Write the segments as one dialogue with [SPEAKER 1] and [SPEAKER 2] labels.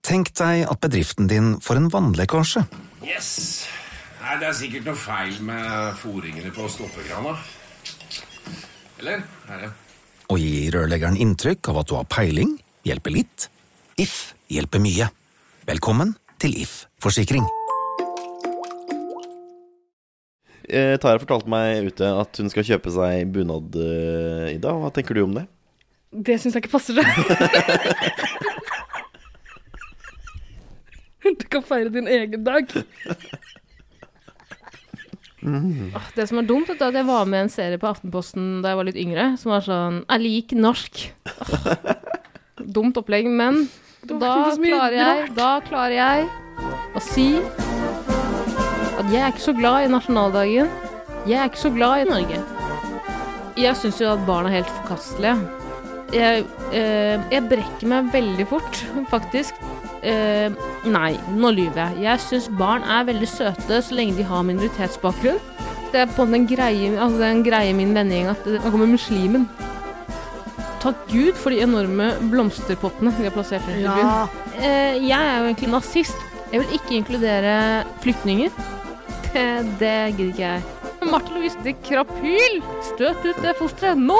[SPEAKER 1] Tenk deg at bedriften din får en vannlekkasje.
[SPEAKER 2] Yes. Nei, det er sikkert noe feil med foringene på stoppekrana. Eller? Er det?
[SPEAKER 1] Å gi rørleggeren inntrykk av at du har peiling, hjelper litt. If hjelper mye. Velkommen til If forsikring.
[SPEAKER 3] Eh, Tara fortalte meg ute at hun skal kjøpe seg bunad, eh, Ida. Hva tenker du om det?
[SPEAKER 4] Det syns jeg ikke passer deg. Du kan feire din egen dag.
[SPEAKER 5] Det som er dumt, vet du, er at jeg var med i en serie på Aftenposten da jeg var litt yngre, som var sånn Er lik norsk. Åh, Dumt opplegg, men da
[SPEAKER 4] så mye
[SPEAKER 5] klarer jeg Da klarer jeg å si at jeg er ikke så glad i nasjonaldagen. Jeg er ikke så glad i Norge. Jeg syns jo at barn er helt forkastelige. Jeg, eh, jeg brekker meg veldig fort, faktisk. Eh, nei, nå lyver jeg. Jeg syns barn er veldig søte så lenge de har minoritetsbakgrunn. Det er på en måte en greie, altså det er en greie i min vennegjeng at det kommer muslimen. Takk Gud for de enorme blomsterpottene de har plassert rundt i byen. Eh, jeg er jo egentlig nazist. Jeg vil ikke inkludere flyktninger. Det, det gidder ikke jeg. Men Martha Louise de Krapyl, støt ut det fosteret nå!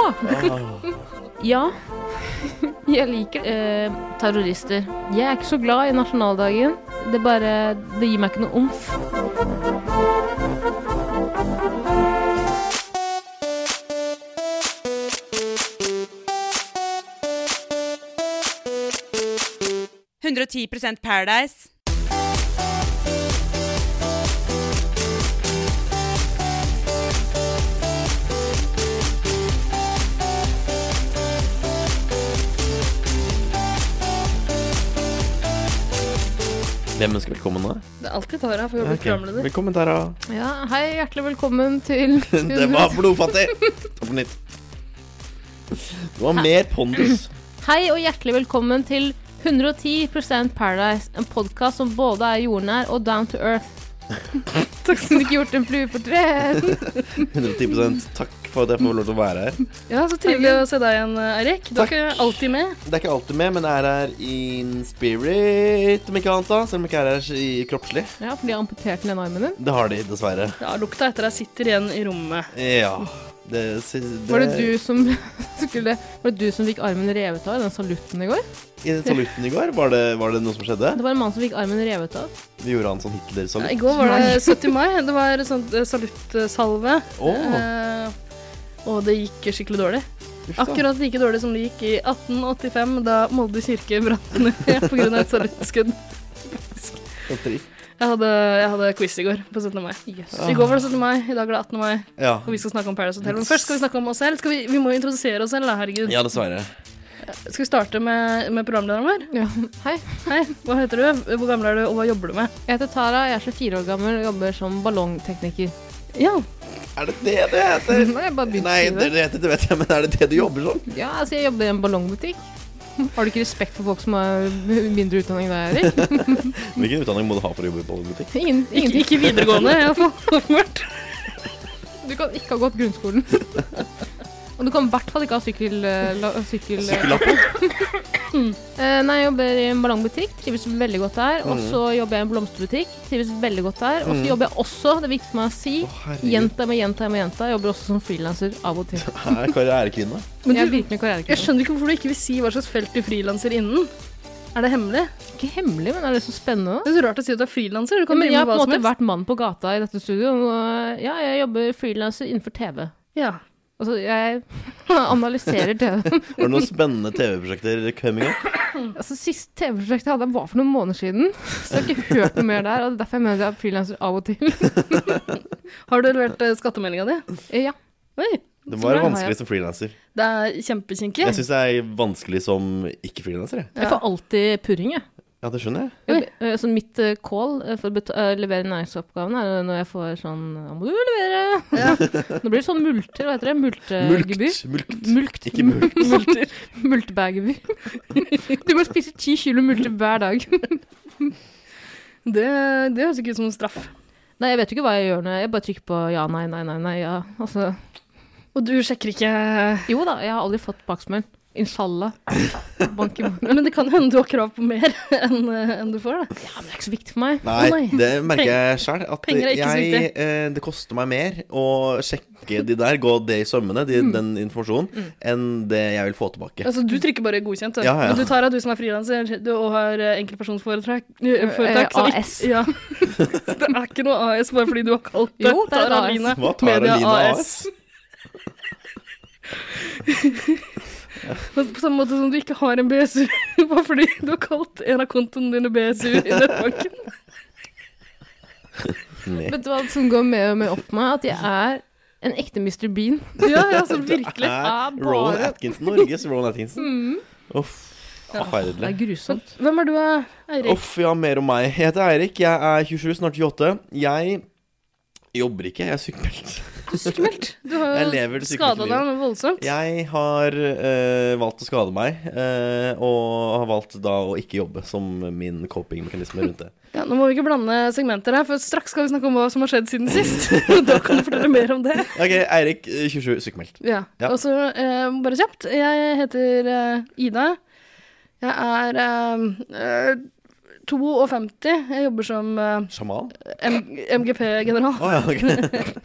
[SPEAKER 5] ja, jeg liker eh, terrorister. Jeg er ikke så glad i nasjonaldagen. Det bare Det gir meg ikke noe omf.
[SPEAKER 6] Paradise.
[SPEAKER 3] Hvem ønsker velkommen da?
[SPEAKER 4] Det er alltid Tara for å bli
[SPEAKER 3] Ok.
[SPEAKER 4] programleder.
[SPEAKER 3] Velkommen, Tara.
[SPEAKER 5] Ja, hei, hjertelig velkommen til
[SPEAKER 3] Det var blodfattig! Ta på nytt. Det var mer pondus.
[SPEAKER 5] Hei og hjertelig velkommen til 110 Paradise, en podkast som både er jordnær og down to earth. Takk som du ikke gjort en flue på treet.
[SPEAKER 3] 110 Takk for at jeg får lov til å være her.
[SPEAKER 4] Ja, Så trivelig å se deg igjen, Eirik. Du er ikke alltid med.
[SPEAKER 3] Det er ikke alltid med, men jeg er her in spirit, om ikke annet, da. Selv om jeg ikke er her i kroppslig.
[SPEAKER 5] Ja, for de har amputert den ene armen din.
[SPEAKER 3] Det har de, dessverre.
[SPEAKER 4] Ja, Lukta etter deg sitter igjen i rommet.
[SPEAKER 3] Ja. Det, det,
[SPEAKER 5] Var det du som skulle Var det du som fikk armen revet av i den salutten i går?
[SPEAKER 3] I saluten i går, var det, var det noe som skjedde?
[SPEAKER 5] Det var en mann som fikk armen revet av.
[SPEAKER 3] Vi gjorde han sånn Hitler-salutt.
[SPEAKER 4] I går var det 70. mai. Det var sånn eh, saluttsalve.
[SPEAKER 3] Åh,
[SPEAKER 4] Eh, og det gikk skikkelig dårlig.
[SPEAKER 3] uff da.
[SPEAKER 4] Akkurat like dårlig som det gikk i 1885, da Molde kirke brant ned pga. et saluttskudd.
[SPEAKER 3] Så trist.
[SPEAKER 4] Jeg hadde, jeg hadde quiz i går på 17. mai. I går var det 17. mai, i dag er det 18. mai.
[SPEAKER 3] Ja.
[SPEAKER 4] Og vi skal snakke om Paradise Hotel. Men først skal vi snakke om oss selv. Skal vi, vi må jo introdusere oss selv, da. Herregud.
[SPEAKER 3] ja, dessverre.
[SPEAKER 4] Skal vi starte med, med programlederen vår?
[SPEAKER 5] Ja. Hei,
[SPEAKER 4] Hei, hva heter du? Hvor gammel er du, og hva jobber du med?
[SPEAKER 5] jeg heter Tara, jeg er 24 år gammel og jobber som ballongtekniker.
[SPEAKER 4] Ja,
[SPEAKER 3] Er det det det heter?
[SPEAKER 5] Nå har jeg bare begynt
[SPEAKER 3] Nei,
[SPEAKER 5] å
[SPEAKER 3] det,
[SPEAKER 5] skrive.
[SPEAKER 3] det, heter- det vet jeg, men er det det du jobber som?
[SPEAKER 5] Ja, altså, jeg jobber i en ballongbutikk. Har du ikke respekt for folk som har mindre utdanning enn deg, Erik?
[SPEAKER 3] Hvilken utdanning må du ha for å jobbe i ballongbutikk?
[SPEAKER 5] Ingen,
[SPEAKER 4] ikke,
[SPEAKER 5] ingenting.
[SPEAKER 4] ikke videregående, i hvert fall. Åpenbart.
[SPEAKER 5] Du kan ikke ha gått grunnskolen. Og du kan i hvert fall ikke ha sykkel... eh, la- sykkel eh.
[SPEAKER 3] Sykkellappen?
[SPEAKER 5] Eh, nei, jeg jobber i en ballongbutikk, trives veldig godt der. Og så jobber jeg i en blomsterbutikk, trives veldig godt der. Og så jobber jeg også, det er viktig for meg å si,
[SPEAKER 3] Herregud.
[SPEAKER 5] jenta med jenta med jenta. Jeg jobber også som frilanser av og til.
[SPEAKER 3] Er karrierekvinne?
[SPEAKER 4] Men
[SPEAKER 5] Jeg er
[SPEAKER 4] du,
[SPEAKER 5] virkelig
[SPEAKER 4] jeg
[SPEAKER 5] karrierekvinne.
[SPEAKER 4] skjønner ikke hvorfor du ikke vil si hva slags felt du frilanser innen. Er det hemmelig?
[SPEAKER 5] Ikke hemmelig, men er det så spennende? da?
[SPEAKER 4] Det er så rart å si at du er frilanser. Du
[SPEAKER 5] Ja,
[SPEAKER 4] kan
[SPEAKER 5] men jeg
[SPEAKER 4] drive
[SPEAKER 5] har
[SPEAKER 4] med hva som
[SPEAKER 5] på en måte
[SPEAKER 4] helst.
[SPEAKER 5] vært mann på gata i dette studioet. Og ja, jeg jobber frilanser innenfor TV.
[SPEAKER 4] Ja.
[SPEAKER 5] Altså, jeg analyserer TV.
[SPEAKER 3] Var det noen spennende TV-prosjekter coming up?
[SPEAKER 5] Altså, Sist TV-prosjekt jeg hadde, var for noen måneder siden. Så jeg har ikke hørt noe mer der. og det er Derfor jeg mener jeg er frilanser av og til.
[SPEAKER 4] Har du levert eh, skattemeldinga di?
[SPEAKER 5] Eh, Ja,
[SPEAKER 4] Oi.
[SPEAKER 3] Det
[SPEAKER 4] så
[SPEAKER 3] var
[SPEAKER 4] bra.
[SPEAKER 3] vanskelig som frilanser.
[SPEAKER 4] Det er kjempekinkig.
[SPEAKER 3] Jeg syns det er vanskelig som ikke-frilanser, jeg.
[SPEAKER 5] Jeg får alltid purring, jeg.
[SPEAKER 3] Ja, det skjønner jeg.
[SPEAKER 5] jeg eh, så mitt eh, call eh, for å beta- eh, levere næringsoppgaven er når jeg får sånn Nå må du levere! Nå blir det sånn multer, hva heter det?
[SPEAKER 4] Eh,
[SPEAKER 5] Multegebyr?
[SPEAKER 3] Mulkt. mulkt.
[SPEAKER 5] Mulkt.
[SPEAKER 3] Ikke mulkt.
[SPEAKER 5] Multer. Multebærgebyr. Du må spise ti kilo multer hver dag.
[SPEAKER 4] Det, det høres ikke ut som en straff.
[SPEAKER 5] Nei, jeg vet jo ikke hva jeg gjør når jeg jeg bare trykker på ja, nei, nei, nei, nei, ja. Altså
[SPEAKER 4] Og du sjekker ikke
[SPEAKER 5] Jo da, jeg har aldri fått baksmell. Inshallah. Bank i bordet.
[SPEAKER 4] Men det kan hende du har krav på mer enn eh, enn du får, da.
[SPEAKER 5] Ja, men det er ikke så viktig for meg.
[SPEAKER 3] Nei,
[SPEAKER 4] Å, nei.
[SPEAKER 3] det merker jeg sjøl. At
[SPEAKER 4] Penger er ikke så
[SPEAKER 3] jeg,
[SPEAKER 4] viktig.
[SPEAKER 3] eh, det koster meg mer å sjekke de der, gå det i sømmene, de,
[SPEAKER 4] Mm.
[SPEAKER 3] den informasjonen, enn det jeg vil få tilbake.
[SPEAKER 4] Altså, du trykker bare godkjent. du.
[SPEAKER 3] Ja, ja.
[SPEAKER 4] Men du tar av du som er frilanser og har eh, enkeltpersonforetak. eh,
[SPEAKER 5] Eh,
[SPEAKER 4] foretak, så ikke-
[SPEAKER 5] AS.
[SPEAKER 4] Ja. Det er ikke noe AS bare fordi du har kalt det
[SPEAKER 5] Jo, det er et AS.
[SPEAKER 4] Aline
[SPEAKER 3] Hva tar Aline AS?
[SPEAKER 4] På på samme måte som du ikke har en BSU bare fordi du har kalt en av kontoene dine BSU i nettbanken.
[SPEAKER 3] Nei.
[SPEAKER 5] Vet du hva som går mer og mer opp for meg? At jeg er en ekte Mr. Bean.
[SPEAKER 4] Ja, ja, Mm. så virkelig. Ah,
[SPEAKER 5] er bare-
[SPEAKER 3] Rowan Atkinson, Norges Rowan Atkinson. Uff.
[SPEAKER 5] Det
[SPEAKER 3] Forferdelig.
[SPEAKER 5] er grusomt.
[SPEAKER 4] Hvem er du, eh, Eirik?
[SPEAKER 3] Uff, ja, mer om meg. Jeg heter Eirik, jeg er 27, snart 28. Jeg jobber ikke, jeg er sykemeldt.
[SPEAKER 4] Sykmeldt. Du
[SPEAKER 3] Jeg
[SPEAKER 4] har
[SPEAKER 3] lever det
[SPEAKER 4] skada
[SPEAKER 3] sykemeldte
[SPEAKER 4] deg
[SPEAKER 3] livet.
[SPEAKER 4] noe voldsomt.
[SPEAKER 3] Jeg har eh, valgt å skade meg, eh, og har valgt da å ikke jobbe som min coping-mekanisme rundt det.
[SPEAKER 4] Ja, nå må vi ikke blande segmenter her, for straks skal vi snakke om hva som har skjedd siden sist. da kan du fortelle mer om det.
[SPEAKER 3] Ok, Eirik, eh, 27, sykemeldt.
[SPEAKER 4] Ja.
[SPEAKER 3] Ja.
[SPEAKER 4] Og så eh, bare kjapt. Jeg heter eh, Ida. Jeg er eh, eh, 52. Jeg jobber som eh,
[SPEAKER 3] Sjaman?
[SPEAKER 4] M- MGP-general
[SPEAKER 3] Å ja, ok.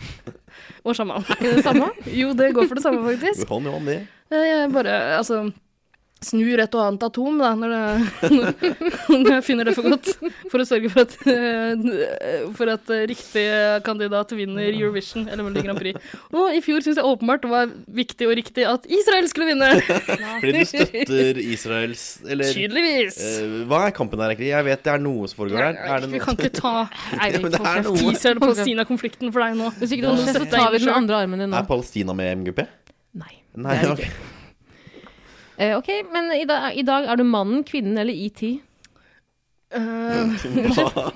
[SPEAKER 4] og sjaman.
[SPEAKER 5] Er ikke det det samme?
[SPEAKER 4] Jo, det går for det samme, faktisk.
[SPEAKER 3] Hånd i hånd, det.
[SPEAKER 4] Eh, Jeg bare altså, snur et og annet atom da, når, det, når jeg finner det for godt, for å sørge for at, eh, for at eh, riktig kandidat vinner Eurovision eller Melodi Grand Prix. Og i fjor syns jeg åpenbart det var viktig og riktig at Israel skulle vinne!
[SPEAKER 3] Fordi du støtter Israels Eller
[SPEAKER 4] Tydeligvis!
[SPEAKER 3] eh, hva er kampen her, egentlig? Jeg vet det er noe som foregår her. Er det
[SPEAKER 4] Vi
[SPEAKER 3] noe?
[SPEAKER 4] kan ikke ta
[SPEAKER 3] Ja, men det er
[SPEAKER 5] hold
[SPEAKER 3] noe.
[SPEAKER 5] kjeft.
[SPEAKER 4] Israel-Palestina-konflikten for deg nå.
[SPEAKER 5] Hvis ikke du holder kjeft, så tar vi den andre armen din nå.
[SPEAKER 3] Er Palestina med MGP?
[SPEAKER 5] Nei.
[SPEAKER 3] Nei,
[SPEAKER 5] det er det
[SPEAKER 3] ok.
[SPEAKER 5] ikke. Eh, ok, men i dag, i dag er du mannen, kvinnen eller E ET?
[SPEAKER 4] Eh,
[SPEAKER 3] Hva?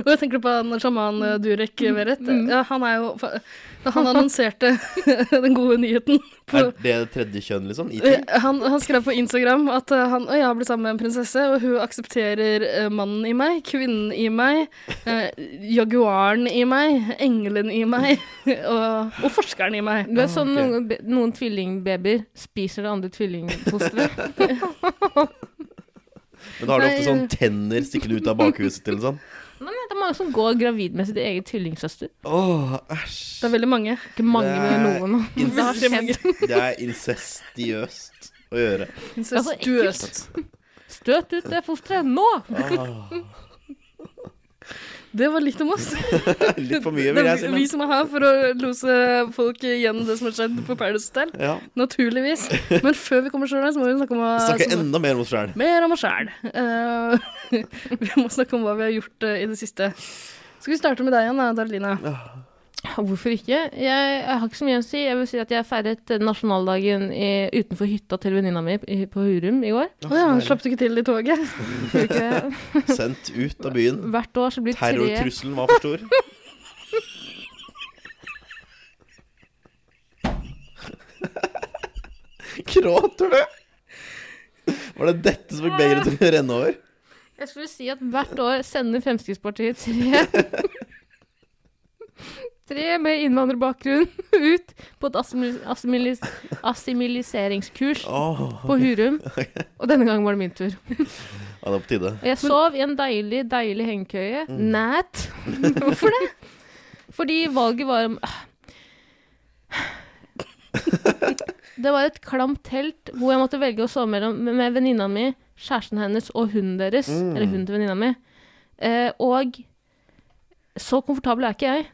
[SPEAKER 4] Og jeg tenker på han sjaman eh, Durek
[SPEAKER 5] Mm.
[SPEAKER 4] Verrett. Ja, han er jo fa- Da han annonserte den gode nyheten på
[SPEAKER 3] Er det tredje kjønn, liksom?
[SPEAKER 4] Eh,
[SPEAKER 3] IT?
[SPEAKER 4] han, han skrev på Instagram at eh, han og jeg har blitt sammen med en prinsesse, og hun aksepterer eh, mannen i meg, kvinnen i meg, eh, jaguaren i meg, engelen i meg og, og forskeren i meg.
[SPEAKER 5] Du er sånn
[SPEAKER 3] Ah, ok.
[SPEAKER 5] noen, be- noen tvillingbabyer spiser det andre tvillingfosteret.
[SPEAKER 3] Men da har du
[SPEAKER 4] Nei.
[SPEAKER 3] ofte sånn tenner stikkende ut av bakhuset til sånn.
[SPEAKER 5] Nei, nei, det er mange som går gravid med sitt eget tvillingsøster.
[SPEAKER 3] Åh, æsj.
[SPEAKER 4] Det er veldig mange.
[SPEAKER 5] Ikke mange med
[SPEAKER 3] Det er-
[SPEAKER 5] noen. Det har
[SPEAKER 4] Veldig mange.
[SPEAKER 5] skjedd.
[SPEAKER 3] Det er incestiøst å gjøre.
[SPEAKER 5] Altså,
[SPEAKER 4] Incestuøst.
[SPEAKER 5] Støt ut det fosteret nå!
[SPEAKER 4] Det var litt om oss.
[SPEAKER 3] Litt for mye,
[SPEAKER 4] Det
[SPEAKER 3] vil jeg
[SPEAKER 4] er
[SPEAKER 3] si.
[SPEAKER 4] vi
[SPEAKER 3] Men.
[SPEAKER 4] som er her for å lose folk gjennom det som har skjedd på Paradise Hotel.
[SPEAKER 3] Ja.
[SPEAKER 4] Naturligvis. Men før vi kommer sjøl der, så må vi snakke om hva
[SPEAKER 3] Snakke
[SPEAKER 4] som-
[SPEAKER 3] enda mer om oss sjæl.
[SPEAKER 4] Mer om oss sjæl. Eh, vi må snakke om hva vi har gjort eh, i det siste. Skal vi starte med deg igjen, da, Darlina?
[SPEAKER 3] Ah.
[SPEAKER 5] Hvorfor ikke? Jeg, jeg har ikke så mye å si. Jeg vil si at jeg feiret eh, nasjonaldagen i, utenfor hytta til venninna mi i- på Hurum i går.
[SPEAKER 3] Ah,
[SPEAKER 4] Å ja, slapp du ikke til i toget?
[SPEAKER 5] Tror du ikke det?
[SPEAKER 3] Sendt ut av byen.
[SPEAKER 5] Hvert år så blir tre
[SPEAKER 3] Terrortrusselen var for stor. Gråter du? Var det dette som fikk begeret til å renne over?
[SPEAKER 5] Jeg skulle si at hvert år sender Fremskrittspartiet tre Tre med innvandrerbakgrunn ut på et assimil- assimilis assimiliseringskurs
[SPEAKER 3] Åh,
[SPEAKER 5] på Hurum. Og denne gangen var det min tur.
[SPEAKER 3] ja, det er på tide.
[SPEAKER 5] Og jeg sov i en deilig, deilig hengekøye. Nat. Hvorfor det? Fordi valget var om Ah. Det var et klamt telt hvor jeg måtte velge å sove mellom med venninna mi, kjæresten hennes og hunden deres. Eller hunden til venninna mi. Eh, og så komfortabel er ikke jeg.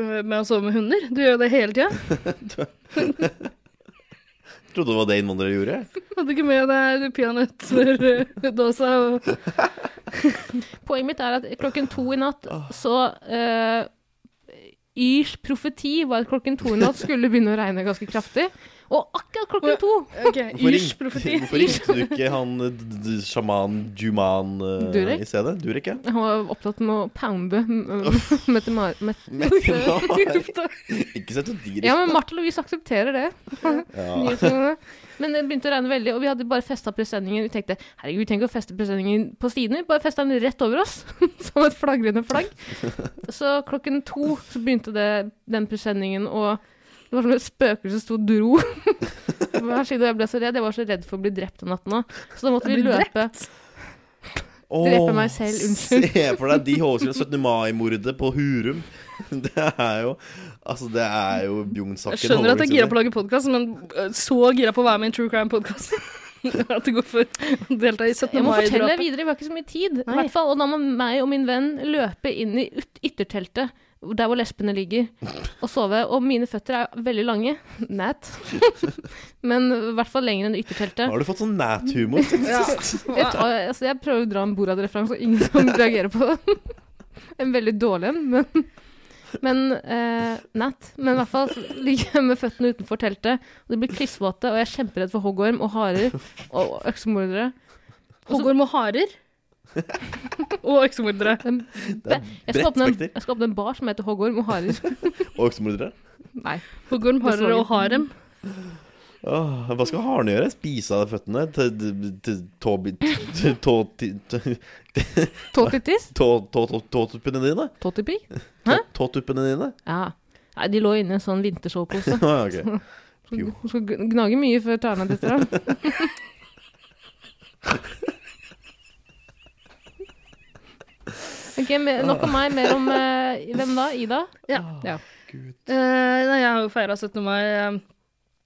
[SPEAKER 4] Eh, Med å sove med hunder? Du gjør jo det hele tida.
[SPEAKER 3] Trodde det var det innvandrere gjorde.
[SPEAKER 4] Hadde ikke med deg peanøttdåsa og
[SPEAKER 5] Poenget mitt er at klokken to i natt så uh, Yrs profeti var at klokken to i natt skulle begynne å regne ganske kraftig. Og akkurat klokken to
[SPEAKER 4] OK,
[SPEAKER 3] Hvorfor
[SPEAKER 4] Yrs
[SPEAKER 3] ringte-
[SPEAKER 4] profeti.
[SPEAKER 3] Hvorfor ringte du ikke han eh, d- d- sjaman Juman eh,
[SPEAKER 5] Durek?
[SPEAKER 3] i stedet? Durek, ja.
[SPEAKER 5] Han var opptatt med å pounde mm, metamar... Met
[SPEAKER 3] Ikke sett ut
[SPEAKER 5] ja,
[SPEAKER 3] direkt.
[SPEAKER 5] men Martha Louise aksepterer det.
[SPEAKER 3] Ja.
[SPEAKER 5] Nyhetskanalene. Men det begynte å regne veldig, og vi hadde bare festa presenningen. Vi tenkte herregud, vi trenger ikke å feste presenningen på siden, vi bare festa den rett over oss. Som et flagrende flagg. Så klokken to så begynte det, den presenningen å Det var som et spøkelse sto og dro. Hver side, og jeg ble så redd. Jeg var så redd for å bli drept den natten òg. Så da måtte vi
[SPEAKER 4] Bli
[SPEAKER 5] løpe. Drepe meg selv, unnskyld.
[SPEAKER 3] Se for deg de hovedskriftene. 17. mai-mordet på Hurum. Det er jo Altså, det er jo Bjugn-saken.
[SPEAKER 4] Jeg skjønner at jeg er gira på å lage podkast, men øh, så gira på å være med i en True Crime-podkast at det går for å delta i 17.
[SPEAKER 5] Jeg må fortelle
[SPEAKER 4] mai-drapet.
[SPEAKER 5] videre, vi har ikke så mye tid. I
[SPEAKER 4] Nei.
[SPEAKER 5] hvert fall, Og da må meg og min venn løpe inn i yt ytterteltet, der hvor lesbene ligger, og sove. Og mine føtter er veldig lange. Nat. Men i hvert fall lenger enn ytterteltet.
[SPEAKER 3] Har du fått sånn nat-humor?
[SPEAKER 4] Ja.
[SPEAKER 5] Jeg, tar, altså, jeg prøver å dra en Borad-referanse, og ingen som reagerer på det. En veldig dårlig en, men Men eh, Nat. Men i hvert fall så ligger jeg med føttene utenfor teltet, og de blir klissvåte, og jeg er kjemperedd for hoggorm og harer og øksemordere.
[SPEAKER 4] Hoggorm og harer. Og øksemordere.
[SPEAKER 5] Den
[SPEAKER 3] Det er
[SPEAKER 5] Jeg
[SPEAKER 3] bredt
[SPEAKER 5] skal, åpne en,
[SPEAKER 3] spekter.
[SPEAKER 5] jeg skal åpne en bar som heter Hoggorm og Harer.
[SPEAKER 3] Og øksemordere.
[SPEAKER 5] Nei.
[SPEAKER 4] Hoggorm, harer og harem.
[SPEAKER 3] Åh, Hva skal harene gjøre? Spise av føttene? Til- til- til tåbi- til tå- til- til-
[SPEAKER 5] Tåtittis?
[SPEAKER 3] tå- tå- tå- Tåtuppene dine?
[SPEAKER 5] Tåtipi?
[SPEAKER 3] Tå- Tåtuppene dine?
[SPEAKER 5] Ja. Nei, de lå inne i en sånn vintersovepose.
[SPEAKER 3] Å, ja, ok. Jo.
[SPEAKER 5] Du skal gn- gnage mye før tærne detter av. Ok, me- Nok om meg, mer om eh, hvem da? Ida?
[SPEAKER 4] Ja.
[SPEAKER 5] Ja.
[SPEAKER 4] Eh, nei, jeg har jo feira 17. mai eh,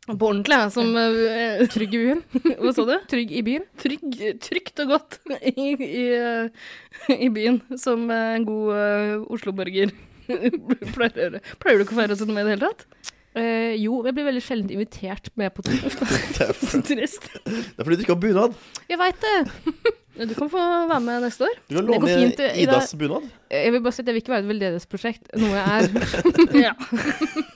[SPEAKER 4] på ordentlig, jeg, som eh,
[SPEAKER 5] Trygg i byen.
[SPEAKER 4] Hva sa du?
[SPEAKER 5] Trygg i byen.
[SPEAKER 4] Trygg, trygt og godt i, i, eh, i byen, som eh, en god eh, Oslo-borger pleier å gjøre. Pleier du ikke å feire 17. mai i det hele tatt?
[SPEAKER 5] Eh, jo, jeg blir veldig sjelden invitert med på tur.
[SPEAKER 3] Det er
[SPEAKER 4] Så trist.
[SPEAKER 3] det er fordi du ikke har bunad.
[SPEAKER 5] Jeg veit det!
[SPEAKER 4] Du kan få være med neste år.
[SPEAKER 3] Du kan
[SPEAKER 5] Det går
[SPEAKER 3] låne
[SPEAKER 5] fint, Ida.
[SPEAKER 3] Idas bunad.
[SPEAKER 5] Jeg vil bare si at jeg vil ikke være et veldedighetsprosjekt, noe jeg er.
[SPEAKER 4] Ja.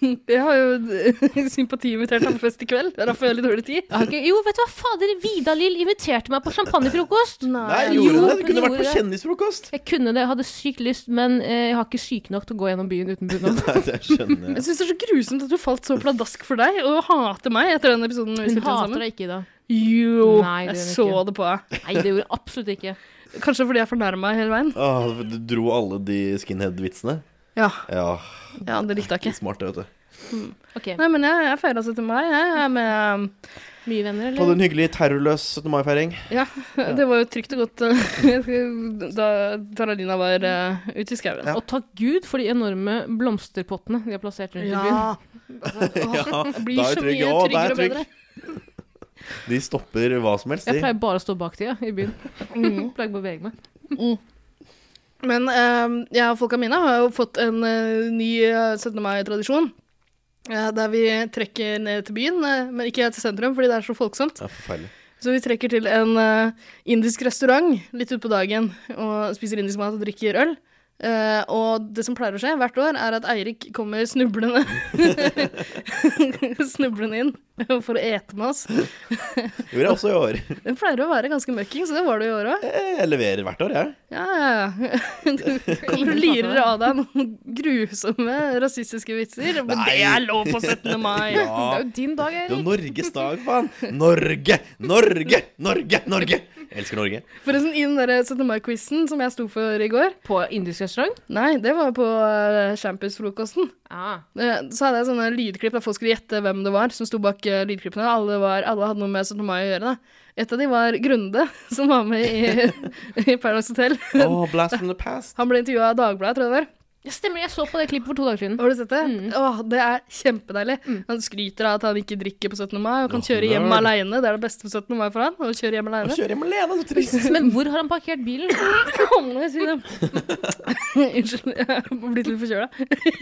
[SPEAKER 4] Jeg har jo sympatiinvitert ham på fest i kveld. Derfor har jeg litt dårlig tid.
[SPEAKER 5] Jeg har ikke, jo, vet du hva, fader, Vidar-Lill inviterte meg på champagnefrokost.
[SPEAKER 3] Nei,
[SPEAKER 5] jo,
[SPEAKER 3] gjorde det? Du
[SPEAKER 5] men
[SPEAKER 3] kunne vært
[SPEAKER 5] det
[SPEAKER 3] på
[SPEAKER 5] gjorde det.
[SPEAKER 3] kjendisfrokost.
[SPEAKER 5] Jeg kunne det, jeg hadde sykt lyst, men eh, jeg har ikke syke nok til å gå gjennom byen uten bunad.
[SPEAKER 3] Nei, det skjønner jeg.
[SPEAKER 4] Jeg syns det er så grusomt at du falt så pladask for deg, og hater meg etter den episoden vi
[SPEAKER 5] Hun
[SPEAKER 4] spilte inn
[SPEAKER 5] hater
[SPEAKER 4] sammen.
[SPEAKER 5] deg ikke, Ida.
[SPEAKER 4] Jo,
[SPEAKER 5] Nei, det
[SPEAKER 4] jeg
[SPEAKER 5] gjør
[SPEAKER 4] så
[SPEAKER 5] hun ikke.
[SPEAKER 4] det på deg.
[SPEAKER 5] Nei, det gjorde jeg absolutt ikke.
[SPEAKER 4] Kanskje fordi jeg fornærma hele veien.
[SPEAKER 3] Åh, du dro alle de skinhead-vitsene.
[SPEAKER 4] Ja,
[SPEAKER 3] Ja,
[SPEAKER 4] ja det likte jeg ikke.
[SPEAKER 3] smart, det, vet du.
[SPEAKER 5] Ok,
[SPEAKER 4] Nei, men jeg, jeg feira 17. mai. Jeg er med
[SPEAKER 5] Mye venner,
[SPEAKER 3] Hadde
[SPEAKER 5] eller?
[SPEAKER 3] en hyggelig terrorløs 17. mai-feiring.
[SPEAKER 4] Ja, det var jo trygt og godt eh, da Taralina var eh, ute i skauen.
[SPEAKER 5] Og takk Gud for de enorme blomsterpottene de har plassert rundt i byen.
[SPEAKER 4] Ja. Åh, Det
[SPEAKER 3] da er
[SPEAKER 4] blir
[SPEAKER 3] jeg
[SPEAKER 4] så
[SPEAKER 3] trygg.
[SPEAKER 4] mye
[SPEAKER 3] Å, da er jeg trygg.
[SPEAKER 4] tryggere og bedre.
[SPEAKER 3] De stopper hva som helst,
[SPEAKER 5] Jeg
[SPEAKER 3] de.
[SPEAKER 5] pleier bare å stå bak de, ja, i byen. Mm. Pleier ikke å bevege meg.
[SPEAKER 4] Men eh, jeg og folka mine har jo fått en eh, ny eh, 17. mai-tradisjon. eh, der vi trekker ned til byen, eh, men ikke til sentrum, fordi det er så folksomt.
[SPEAKER 3] Ja, forferdelig.
[SPEAKER 4] Så vi trekker til en eh, indisk restaurant litt utpå dagen og spiser indisk mat og drikker øl. Eh, og det som pleier å skje hvert år, er at Eirik kommer snublende Snublende inn for å ete med oss.
[SPEAKER 3] Det gjorde jeg også i år.
[SPEAKER 4] Den pleier å være ganske møkking, så det var det i år òg.
[SPEAKER 3] Jeg leverer hvert år, jeg.
[SPEAKER 4] Ja, ja, ja. Du kommer og lirer av deg noen grusomme rasistiske vitser. Men
[SPEAKER 3] Nei.
[SPEAKER 4] det er lov på 17. mai!
[SPEAKER 5] Det er jo din dag,
[SPEAKER 3] Det er jo
[SPEAKER 5] Erik.
[SPEAKER 3] Norges dag, faen! Norge! Norge! Norge! Norge! Jeg elsker Norge.
[SPEAKER 4] Forresten, i den der 17. mai-quizen som jeg sto for i går
[SPEAKER 5] På indisk restaurant?
[SPEAKER 4] Nei, det var på eh, campusfrokosten.
[SPEAKER 5] Ja.
[SPEAKER 4] Eh, Så hadde jeg sånne lydklipp der folk skulle gjette hvem det var som sto bak eh, lydklippene. Alle, var, alle hadde noe med 17. mai å gjøre. da. Et av de var Grunde, som var med i, i Paradise Hotel.
[SPEAKER 3] Oh, blast from the past.
[SPEAKER 4] Han ble intervjua av Dagbladet, tror jeg det var.
[SPEAKER 5] ja, stemmer, jeg så på det klippet for to dager siden.
[SPEAKER 4] Har du sett det? Åh, det er kjempedeilig. Han skryter av at han ikke drikker på 17. mai, og kan
[SPEAKER 3] Åh,
[SPEAKER 4] kjøre hjem
[SPEAKER 3] nerd.
[SPEAKER 4] alene. Det er det beste på 17. mai for han, å kjøre hjem
[SPEAKER 3] Og
[SPEAKER 4] alene.
[SPEAKER 3] kjører hjem alene, så trist.
[SPEAKER 5] Men hvor har han parkert bilen?
[SPEAKER 4] Kom nå, jeg sier det. Unnskyld, jeg har blitt litt forkjøla.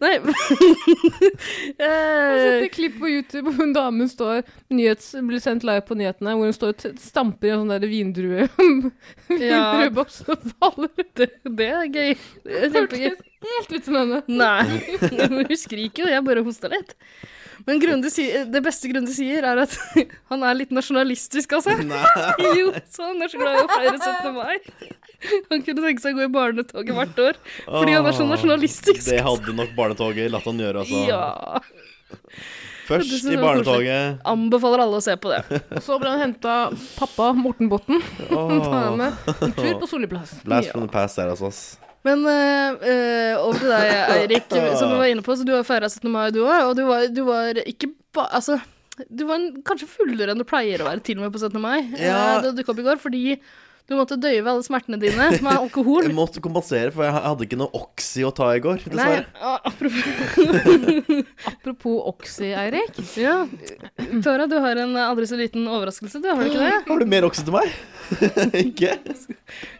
[SPEAKER 4] Nei
[SPEAKER 5] Jeg har sett
[SPEAKER 4] Eh,
[SPEAKER 5] et klipp på YouTube hvor en dame står nyhets, blir sendt live på nyhetene, hvor hun står og t- stamper i en sånn der vindrue vindrueboks og faller ut.
[SPEAKER 4] det, det er gøy. Det er kjempegøy.
[SPEAKER 5] Hørtes Helt ut som henne.
[SPEAKER 4] Nei, men hun skriker jo, jeg bare hosta litt. Men Grunde sier, det beste Grunde sier, er at han er litt nasjonalistisk, altså.
[SPEAKER 3] Nei.
[SPEAKER 4] Jo, så han er så glad i å feire 17. mai. Han kunne tenke seg å gå i barnetoget hvert år fordi han er så
[SPEAKER 3] Åh,
[SPEAKER 4] nasjonalistisk.
[SPEAKER 3] Det hadde nok barnetoget latt han gjøre, altså.
[SPEAKER 4] Ja. Det
[SPEAKER 3] Først
[SPEAKER 4] synes
[SPEAKER 3] i
[SPEAKER 4] jeg var
[SPEAKER 3] barnetoget.
[SPEAKER 4] Anbefaler alle å se på det.
[SPEAKER 5] Og så ble han henta pappa Morten Botten.
[SPEAKER 3] Åh,
[SPEAKER 5] En tur på Solli plass.
[SPEAKER 3] blast from the past der, altså. ass.
[SPEAKER 4] Men eh, eh, over til deg, Eirik, som du var inne på. Så du har feira 17. mai, du òg. Og du var, du var ikke ba... Altså, du var en, kanskje fullere enn du pleier å være, til og med på 17. mai.
[SPEAKER 3] Ja.
[SPEAKER 4] Eh, Det dukka opp i går fordi du måtte døyve alle smertene dine med alkohol.
[SPEAKER 3] Jeg måtte kompensere, for jeg hadde ikke noe Oxy å ta i går, dessverre.
[SPEAKER 4] Nei, a- apropos
[SPEAKER 5] Apropos Oxy, Eirik.
[SPEAKER 4] Ja. Tara, du har en aldri så liten overraskelse, du. Har du ikke det?
[SPEAKER 3] Har du mer Oxy til meg? ikke?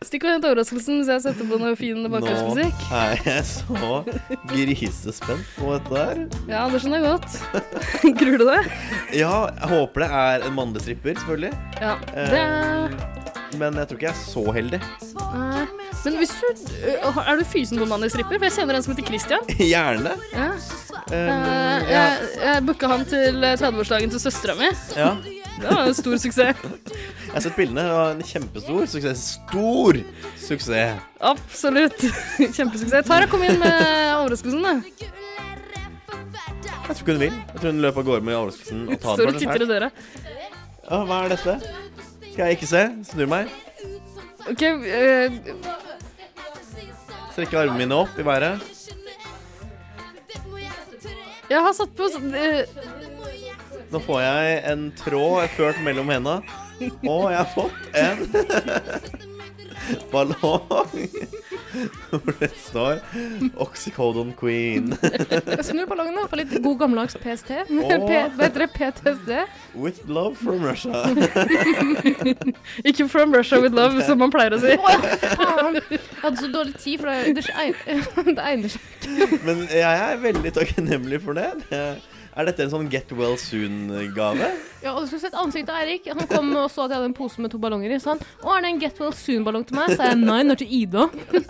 [SPEAKER 4] Stikk og hent overraskelsen hvis jeg setter på noe fin
[SPEAKER 3] Nå
[SPEAKER 4] bakgrunnsmusikk.
[SPEAKER 3] er jeg så grisespent på dette her.
[SPEAKER 4] Ja, det skjønner jeg godt. Gruer du deg?
[SPEAKER 3] Ja, jeg håper det er en mannlig stripper, selvfølgelig.
[SPEAKER 4] Ja.
[SPEAKER 3] Eh,
[SPEAKER 4] Det er
[SPEAKER 3] Men jeg tror ikke jeg er så heldig.
[SPEAKER 4] Nei. Men hvis du øh, har- Er du fysen på mann i stripper? For jeg kjenner en som heter Christian.
[SPEAKER 3] Gjerne.
[SPEAKER 4] Ja.
[SPEAKER 3] Um,
[SPEAKER 4] Eh,
[SPEAKER 3] ja.
[SPEAKER 4] jeg jeg booka han til eh, 30-årsdagen til søstera mi.
[SPEAKER 3] ja.
[SPEAKER 4] Det var en stor suksess.
[SPEAKER 3] Jeg har sett bildene. Det var en kjempestor suksess. Stor suksess.
[SPEAKER 4] Absolutt. Kjempesuksess. Tara, kom inn med overraskelsen, da.
[SPEAKER 3] Jeg tror ikke hun vil. Jeg tror hun løp av gårde med overraskelsen og tar
[SPEAKER 4] Står
[SPEAKER 3] den
[SPEAKER 4] og
[SPEAKER 3] for
[SPEAKER 4] titter i
[SPEAKER 3] seg selv.
[SPEAKER 4] døra.
[SPEAKER 3] Å, Hva er dette? Skal jeg ikke se? Snur meg.
[SPEAKER 4] OK, eh,
[SPEAKER 3] Strekker armene mine opp i været.
[SPEAKER 4] jeg har satt på eh,
[SPEAKER 3] Nå får jeg en tråd ført mellom hendene. Og jeg har fått en ballong hvor det står 'Oxycodon Queen'
[SPEAKER 5] Snur ballongen da, for litt god gammeldags PST.
[SPEAKER 3] Åh.
[SPEAKER 5] P hva heter det? PTSD.
[SPEAKER 3] with love from Russia.
[SPEAKER 4] Ikke 'From Russia with Love', som man pleier å si.
[SPEAKER 5] Faen. Jeg hadde så dårlig tid, for det, det, egn- det egner seg.
[SPEAKER 3] Men jeg er veldig takknemlig for det. Det er- Er dette en sånn get well soon-gave?
[SPEAKER 5] Ja, og Du skulle sett ansiktet til Eirik. Han kom og så at jeg hadde en pose med to ballonger i. Så han 'Å, er det en Get Well Soon-ballong til meg?' sa jeg nei, den er til Ida.
[SPEAKER 3] Jeg ble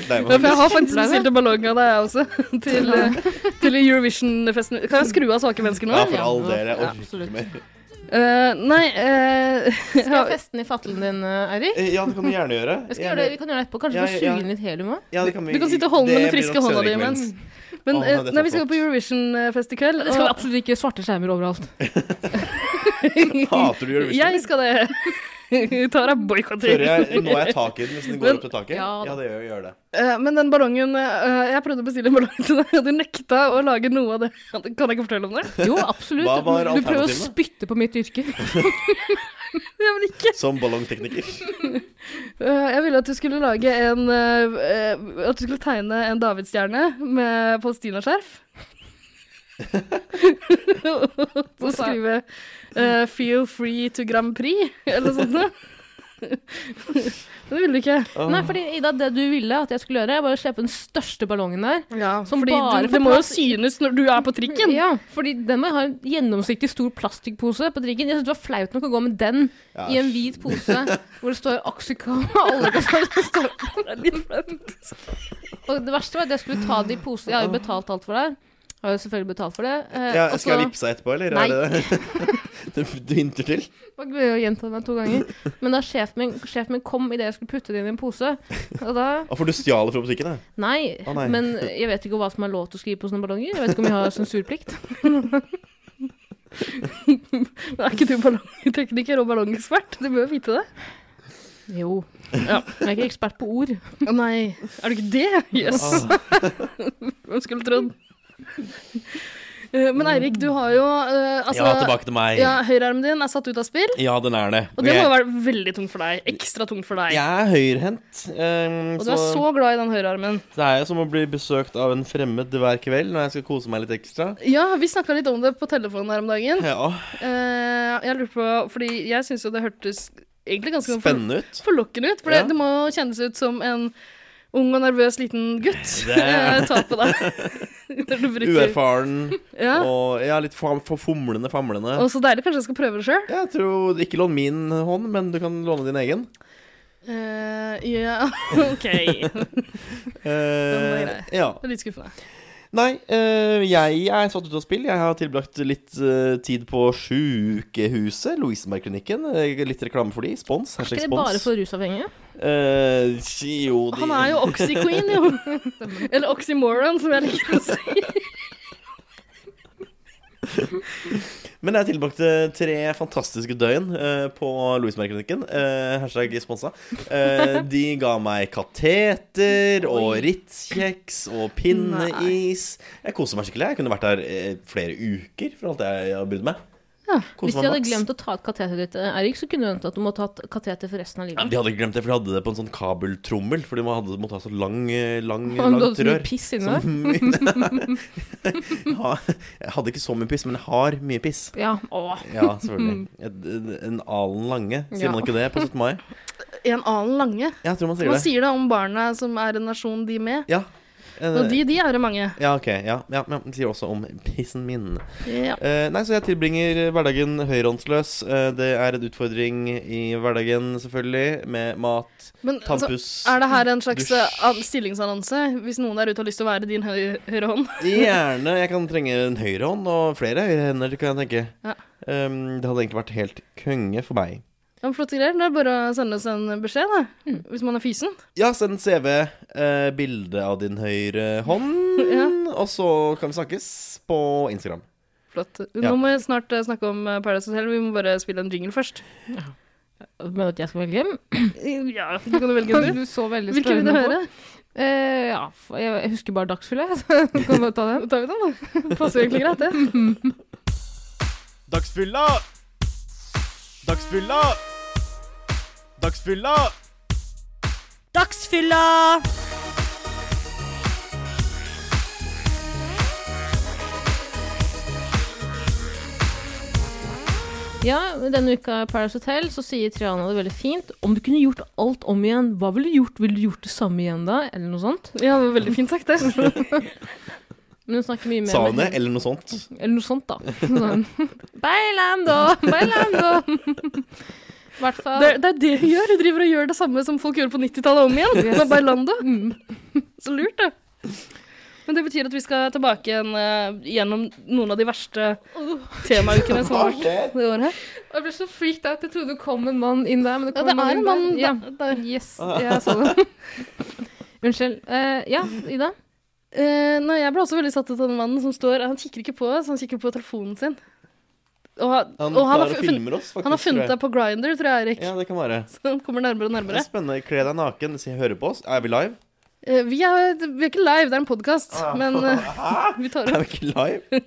[SPEAKER 3] litt lei
[SPEAKER 4] Ja,
[SPEAKER 3] meg.
[SPEAKER 4] for jeg har faktisk bestilt en ballong av deg også. Til, eh, til Eurovision-festen. Kan jeg skru av svake mennesker nå?
[SPEAKER 3] Ja, for all del. Jeg
[SPEAKER 5] Ja,
[SPEAKER 3] orker
[SPEAKER 5] absolutt.
[SPEAKER 3] ikke mer.
[SPEAKER 4] Eh, nei eh,
[SPEAKER 5] Skal jeg feste den i fattelen din, Eirik?
[SPEAKER 3] Eh, Ja, det kan du gjerne gjøre.
[SPEAKER 5] Jeg skal gjøre det, vi kan gjøre det etterpå. Kanskje
[SPEAKER 3] Ja,
[SPEAKER 5] du
[SPEAKER 3] ja,
[SPEAKER 5] kan
[SPEAKER 3] ja.
[SPEAKER 5] suge inn litt helium òg?
[SPEAKER 3] Ja, det kan vi-
[SPEAKER 4] Du kan sitte og holde med
[SPEAKER 3] det
[SPEAKER 4] den friske
[SPEAKER 3] blir nok
[SPEAKER 4] hånda
[SPEAKER 3] senere
[SPEAKER 4] di
[SPEAKER 3] i
[SPEAKER 4] imens.
[SPEAKER 3] kveld.
[SPEAKER 4] Men
[SPEAKER 3] Å, nei,
[SPEAKER 4] eh,
[SPEAKER 3] dette er
[SPEAKER 4] nei, vi skal
[SPEAKER 3] flott.
[SPEAKER 4] gå på Eurovision-fest i kveld.
[SPEAKER 5] Det skal vi
[SPEAKER 4] og-
[SPEAKER 5] absolutt ikke. Svarte skjermer overalt.
[SPEAKER 3] Hater du Eurovision?
[SPEAKER 4] Jeg skal det. Tara
[SPEAKER 3] Tør
[SPEAKER 4] boikotter.
[SPEAKER 3] jeg, Når jeg taket hvis den går
[SPEAKER 4] Men-
[SPEAKER 3] opp til taket?
[SPEAKER 5] Ja, da.
[SPEAKER 3] Ja, det gjør, gjør det.
[SPEAKER 4] Eh, Men den ballongen eh, Jeg prøvde å bestille en ballong til deg, og du nekta å lage noe av det. Kan jeg ikke fortelle om det?
[SPEAKER 5] Jo, absolutt.
[SPEAKER 3] Hva var
[SPEAKER 5] Du prøver å
[SPEAKER 3] alternativene?
[SPEAKER 5] spytte på mitt yrke.
[SPEAKER 4] Jeg vil ikke.
[SPEAKER 3] Som ballongtekniker.
[SPEAKER 4] Eh, Jeg ville at du skulle lage en eh, eh, At du skulle tegne en davidsstjerne med palestinaskjerf. Og skrive eh, 'Feel free to Grand Prix' eller sånt noe. Men det ville du ikke.
[SPEAKER 5] Nei, fordi Ida, det du ville at jeg skulle gjøre, var å slippe den største ballongen der.
[SPEAKER 4] Ja,
[SPEAKER 5] Som
[SPEAKER 4] fordi
[SPEAKER 5] bare
[SPEAKER 4] du,
[SPEAKER 5] får
[SPEAKER 4] det må jo
[SPEAKER 5] plass-
[SPEAKER 4] synes når du er på trikken.
[SPEAKER 5] Ja, fordi den må jeg ha en gjennomsiktig stor plastikkpose på trikken. Jeg synes det var flaut nok å gå med den
[SPEAKER 3] Ja.
[SPEAKER 5] i en hvit pose hvor det står Oxyco og alle kan stå det står på den litt flaut. Og det verste var at jeg skulle ta det i pose. Jeg har jo betalt alt for det her. Jeg har jo selvfølgelig betalt for det. Eh,
[SPEAKER 3] Ja,
[SPEAKER 5] og
[SPEAKER 3] skal
[SPEAKER 4] Altså,
[SPEAKER 3] jeg
[SPEAKER 5] så-
[SPEAKER 3] vippse deg etterpå, eller?
[SPEAKER 5] Nei.
[SPEAKER 3] Er det det du hinter til?
[SPEAKER 5] Det var gøy å gjenta det meg to ganger. Men da sjefen min, sjefen min kom idet jeg skulle putte det inn i en pose, og da
[SPEAKER 3] Ah, for du stjal det fra butikken, ja?
[SPEAKER 5] Nei,
[SPEAKER 3] Å, nei.
[SPEAKER 5] men jeg vet ikke hva som er lov til å skrive på sånne ballonger. Jeg vet ikke om vi har sensurplikt.
[SPEAKER 4] Men Er ikke du ballongtekniker og ballongekspert? Du bør jo vite det.
[SPEAKER 5] Jo. Ja. Jeg er ikke ekspert på ord.
[SPEAKER 4] Å nei, er du ikke det? Jøss. Yes.
[SPEAKER 3] Ah,
[SPEAKER 4] Hvem skulle trodd? Eh, Men Eirik, du har jo eh, altså,
[SPEAKER 3] ja, tilbake til meg.
[SPEAKER 4] ja, høyrearmen din er satt ut av spill,
[SPEAKER 3] Ja, den er det.
[SPEAKER 4] og det må
[SPEAKER 3] jeg,
[SPEAKER 4] jo være veldig tungt for deg. Ekstra tungt for deg.
[SPEAKER 3] jeg er høyrehendt, ehm,
[SPEAKER 4] Og du
[SPEAKER 3] så,
[SPEAKER 4] er så glad i den høyrearmen.
[SPEAKER 3] det er jo som å bli besøkt av en fremmed hver kveld når jeg skal kose meg litt ekstra.
[SPEAKER 4] Ja, vi snakka litt om det på telefonen her om dagen.
[SPEAKER 3] Ja,
[SPEAKER 4] Eh, jeg lurer på, fordi jeg syns jo det hørtes egentlig ganske for-
[SPEAKER 3] Spennende ut.
[SPEAKER 4] forlokkende ut. For
[SPEAKER 3] Ja.
[SPEAKER 4] det, det må jo kjennes ut som en ung og nervøs liten gutt
[SPEAKER 3] Det er-
[SPEAKER 4] eh, tar på deg. Når du bruker
[SPEAKER 3] Uerfaren
[SPEAKER 4] ja.
[SPEAKER 3] og ja, litt for, for fomlende, famlende.
[SPEAKER 4] Og så deilig. Kanskje jeg skal prøve det sjøl?
[SPEAKER 3] Jeg tror Ikke lån min hånd, men du kan låne din egen.
[SPEAKER 4] Eh, ja, OK. Det
[SPEAKER 3] Eh,
[SPEAKER 4] Den er
[SPEAKER 3] ja.
[SPEAKER 4] er litt skuffende.
[SPEAKER 3] Nei, eh, jeg er satt ut av spill. Jeg har tilbrakt litt eh, tid på sjukehuset, Lovisenbergklinikken. Eh, Litt reklame for de. Spons.
[SPEAKER 5] Er
[SPEAKER 3] Hashtag
[SPEAKER 5] ikke det
[SPEAKER 3] spons.
[SPEAKER 5] bare for rusavhengige?
[SPEAKER 3] Eh, jo, de
[SPEAKER 4] Han er jo Oxy-queen, jo. Eller Oxymoron, som jeg liker å si.
[SPEAKER 3] Men jeg tilbrakte tre fantastiske døgn eh, på Louisberg-klinikken. eh, hashtag sponsa. Eh, de ga meg kateter og Ritz-kjeks og pinneis. Jeg koser meg skikkelig. Jeg kunne vært der eh, flere uker for alt jeg har brydd meg.
[SPEAKER 4] Ja,
[SPEAKER 5] Hvis
[SPEAKER 3] Koser
[SPEAKER 5] de
[SPEAKER 3] meg
[SPEAKER 5] hadde
[SPEAKER 3] maks.
[SPEAKER 5] glemt å ta ut kateteret ditt, Eirik, så kunne du vente at du må ta et kateter for resten av
[SPEAKER 3] Ja,
[SPEAKER 5] livet.
[SPEAKER 3] De hadde ikke glemt det, for de hadde det på en sånn kabeltrommel. For de må- hadde, måtte ha så lang, eh, lang,
[SPEAKER 5] Og du
[SPEAKER 3] langt
[SPEAKER 5] hadde så mye
[SPEAKER 3] rør.
[SPEAKER 5] piss inni deg.
[SPEAKER 3] Jeg har- jeg hadde ikke så mye piss, men jeg har mye piss.
[SPEAKER 5] Ja, åh.
[SPEAKER 3] Ja, selvfølgelig. Et, en- en alen lange. Sier
[SPEAKER 5] Mm. Ja.
[SPEAKER 3] man ikke det på 17. mai?
[SPEAKER 4] En annen lange.
[SPEAKER 3] Jeg tror man sier
[SPEAKER 4] Man
[SPEAKER 3] det.
[SPEAKER 4] sier det om barna som er en nasjon, de med.
[SPEAKER 3] Ja. Eh,
[SPEAKER 4] Og de, de er det mange.
[SPEAKER 3] Ja, ok. Ja, ja, ja. Den sier også om pissen min.
[SPEAKER 4] Ja.
[SPEAKER 3] Eh, nei, så jeg tilbringer hverdagen høyrehåndsløs. Eh, det er en utfordring i hverdagen, selvfølgelig, med mat,
[SPEAKER 4] Men altså,
[SPEAKER 3] tannpuss
[SPEAKER 4] er det her en slags
[SPEAKER 3] dusj.
[SPEAKER 4] eh, an- stillingsannonse? Hvis noen der ute har lyst til å være din høy høyre hånd?
[SPEAKER 3] Gjerne. Jeg kan trenge en høyrehånd og flere høyrehender, kan jeg tenke.
[SPEAKER 4] Ja.
[SPEAKER 3] Ehm, det hadde egentlig vært helt konge for meg.
[SPEAKER 4] Ja, men Flotte greier. Det er bare å sende oss en beskjed, da. Hvis man er fysen.
[SPEAKER 3] Ja, send CV, eh, bilde av din høyre hånd,
[SPEAKER 4] Ja.
[SPEAKER 3] og så kan vi snakkes på Instagram.
[SPEAKER 4] Flott.
[SPEAKER 3] Ja.
[SPEAKER 4] Nå må vi snart eh, snakke om eh, Paradise Hotel. Vi må bare spille en jingle først.
[SPEAKER 5] Men at jeg skal velge?
[SPEAKER 4] Ja, du kan jo velge en, du.
[SPEAKER 5] Du så veldig
[SPEAKER 4] Hvilken vil du
[SPEAKER 5] spørrende på.
[SPEAKER 4] høre?
[SPEAKER 5] Eh, ja, for jeg jeg husker bare dagsfylla, jeg, så du kan bare ta
[SPEAKER 4] Da
[SPEAKER 5] den.
[SPEAKER 4] tar vi den, da. Det passer jo egentlig greit, det.
[SPEAKER 6] Dagsfylla! Dagsfylla! Dagsfylla!
[SPEAKER 7] Dagsfylla!
[SPEAKER 5] Ja, denne uka i Paradise Hotel så sier Triana det veldig fint. Om du kunne gjort alt om igjen, hva ville du gjort? Ville du gjort det samme igjen da? Eller noe sånt?
[SPEAKER 4] Ja, det var veldig fint sagt, det.
[SPEAKER 5] Men hun snakker mye mer
[SPEAKER 3] Sa hun
[SPEAKER 5] med-
[SPEAKER 3] det, eller noe sånt?
[SPEAKER 5] Eller noe sånt, da. Sånn. Bailando, bailando. I hvert fall.
[SPEAKER 4] Det, er- det er det hun gjør. Hun driver og gjør det samme som folk gjorde på 90-tallet om igjen. Yes. Mm. Bailando. Så lurt, det. Men det betyr at vi skal tilbake igjen eh, gjennom noen av de verste temaukene som har vært det året her.
[SPEAKER 5] Jeg ble så freaked out. Jeg trodde det kom en mann inn der. Men det
[SPEAKER 4] Ja,
[SPEAKER 5] kom
[SPEAKER 4] det er en mann
[SPEAKER 5] inn der.
[SPEAKER 4] ja.
[SPEAKER 5] Ja. Yes,
[SPEAKER 3] Ah.
[SPEAKER 5] jeg så det. Unnskyld. Eh, ja, Ida?
[SPEAKER 4] Eh, nei, jeg ble også veldig satt ut av den mannen som står Han kikker ikke på oss, han kikker på telefonen sin. Og, han-
[SPEAKER 3] Han
[SPEAKER 4] og
[SPEAKER 3] tar
[SPEAKER 4] han, har
[SPEAKER 3] og
[SPEAKER 4] fu- funnet,
[SPEAKER 3] filmer oss, faktisk.
[SPEAKER 4] han har
[SPEAKER 3] tror
[SPEAKER 4] funnet
[SPEAKER 3] jeg.
[SPEAKER 4] deg på Grinder, tror jeg, Erik.
[SPEAKER 3] Ja, det kan være.
[SPEAKER 4] Så han kommer nærmere
[SPEAKER 3] Det
[SPEAKER 4] og
[SPEAKER 3] er
[SPEAKER 4] nærmere.
[SPEAKER 3] spennende. Kle deg naken, si 'hører på oss'. Er vi live?
[SPEAKER 4] Eh, vi, er, vi er ikke live, det er en podkast,
[SPEAKER 3] Ah,
[SPEAKER 4] men eh, vi tar
[SPEAKER 3] Er
[SPEAKER 4] opp.
[SPEAKER 3] vi ikke live?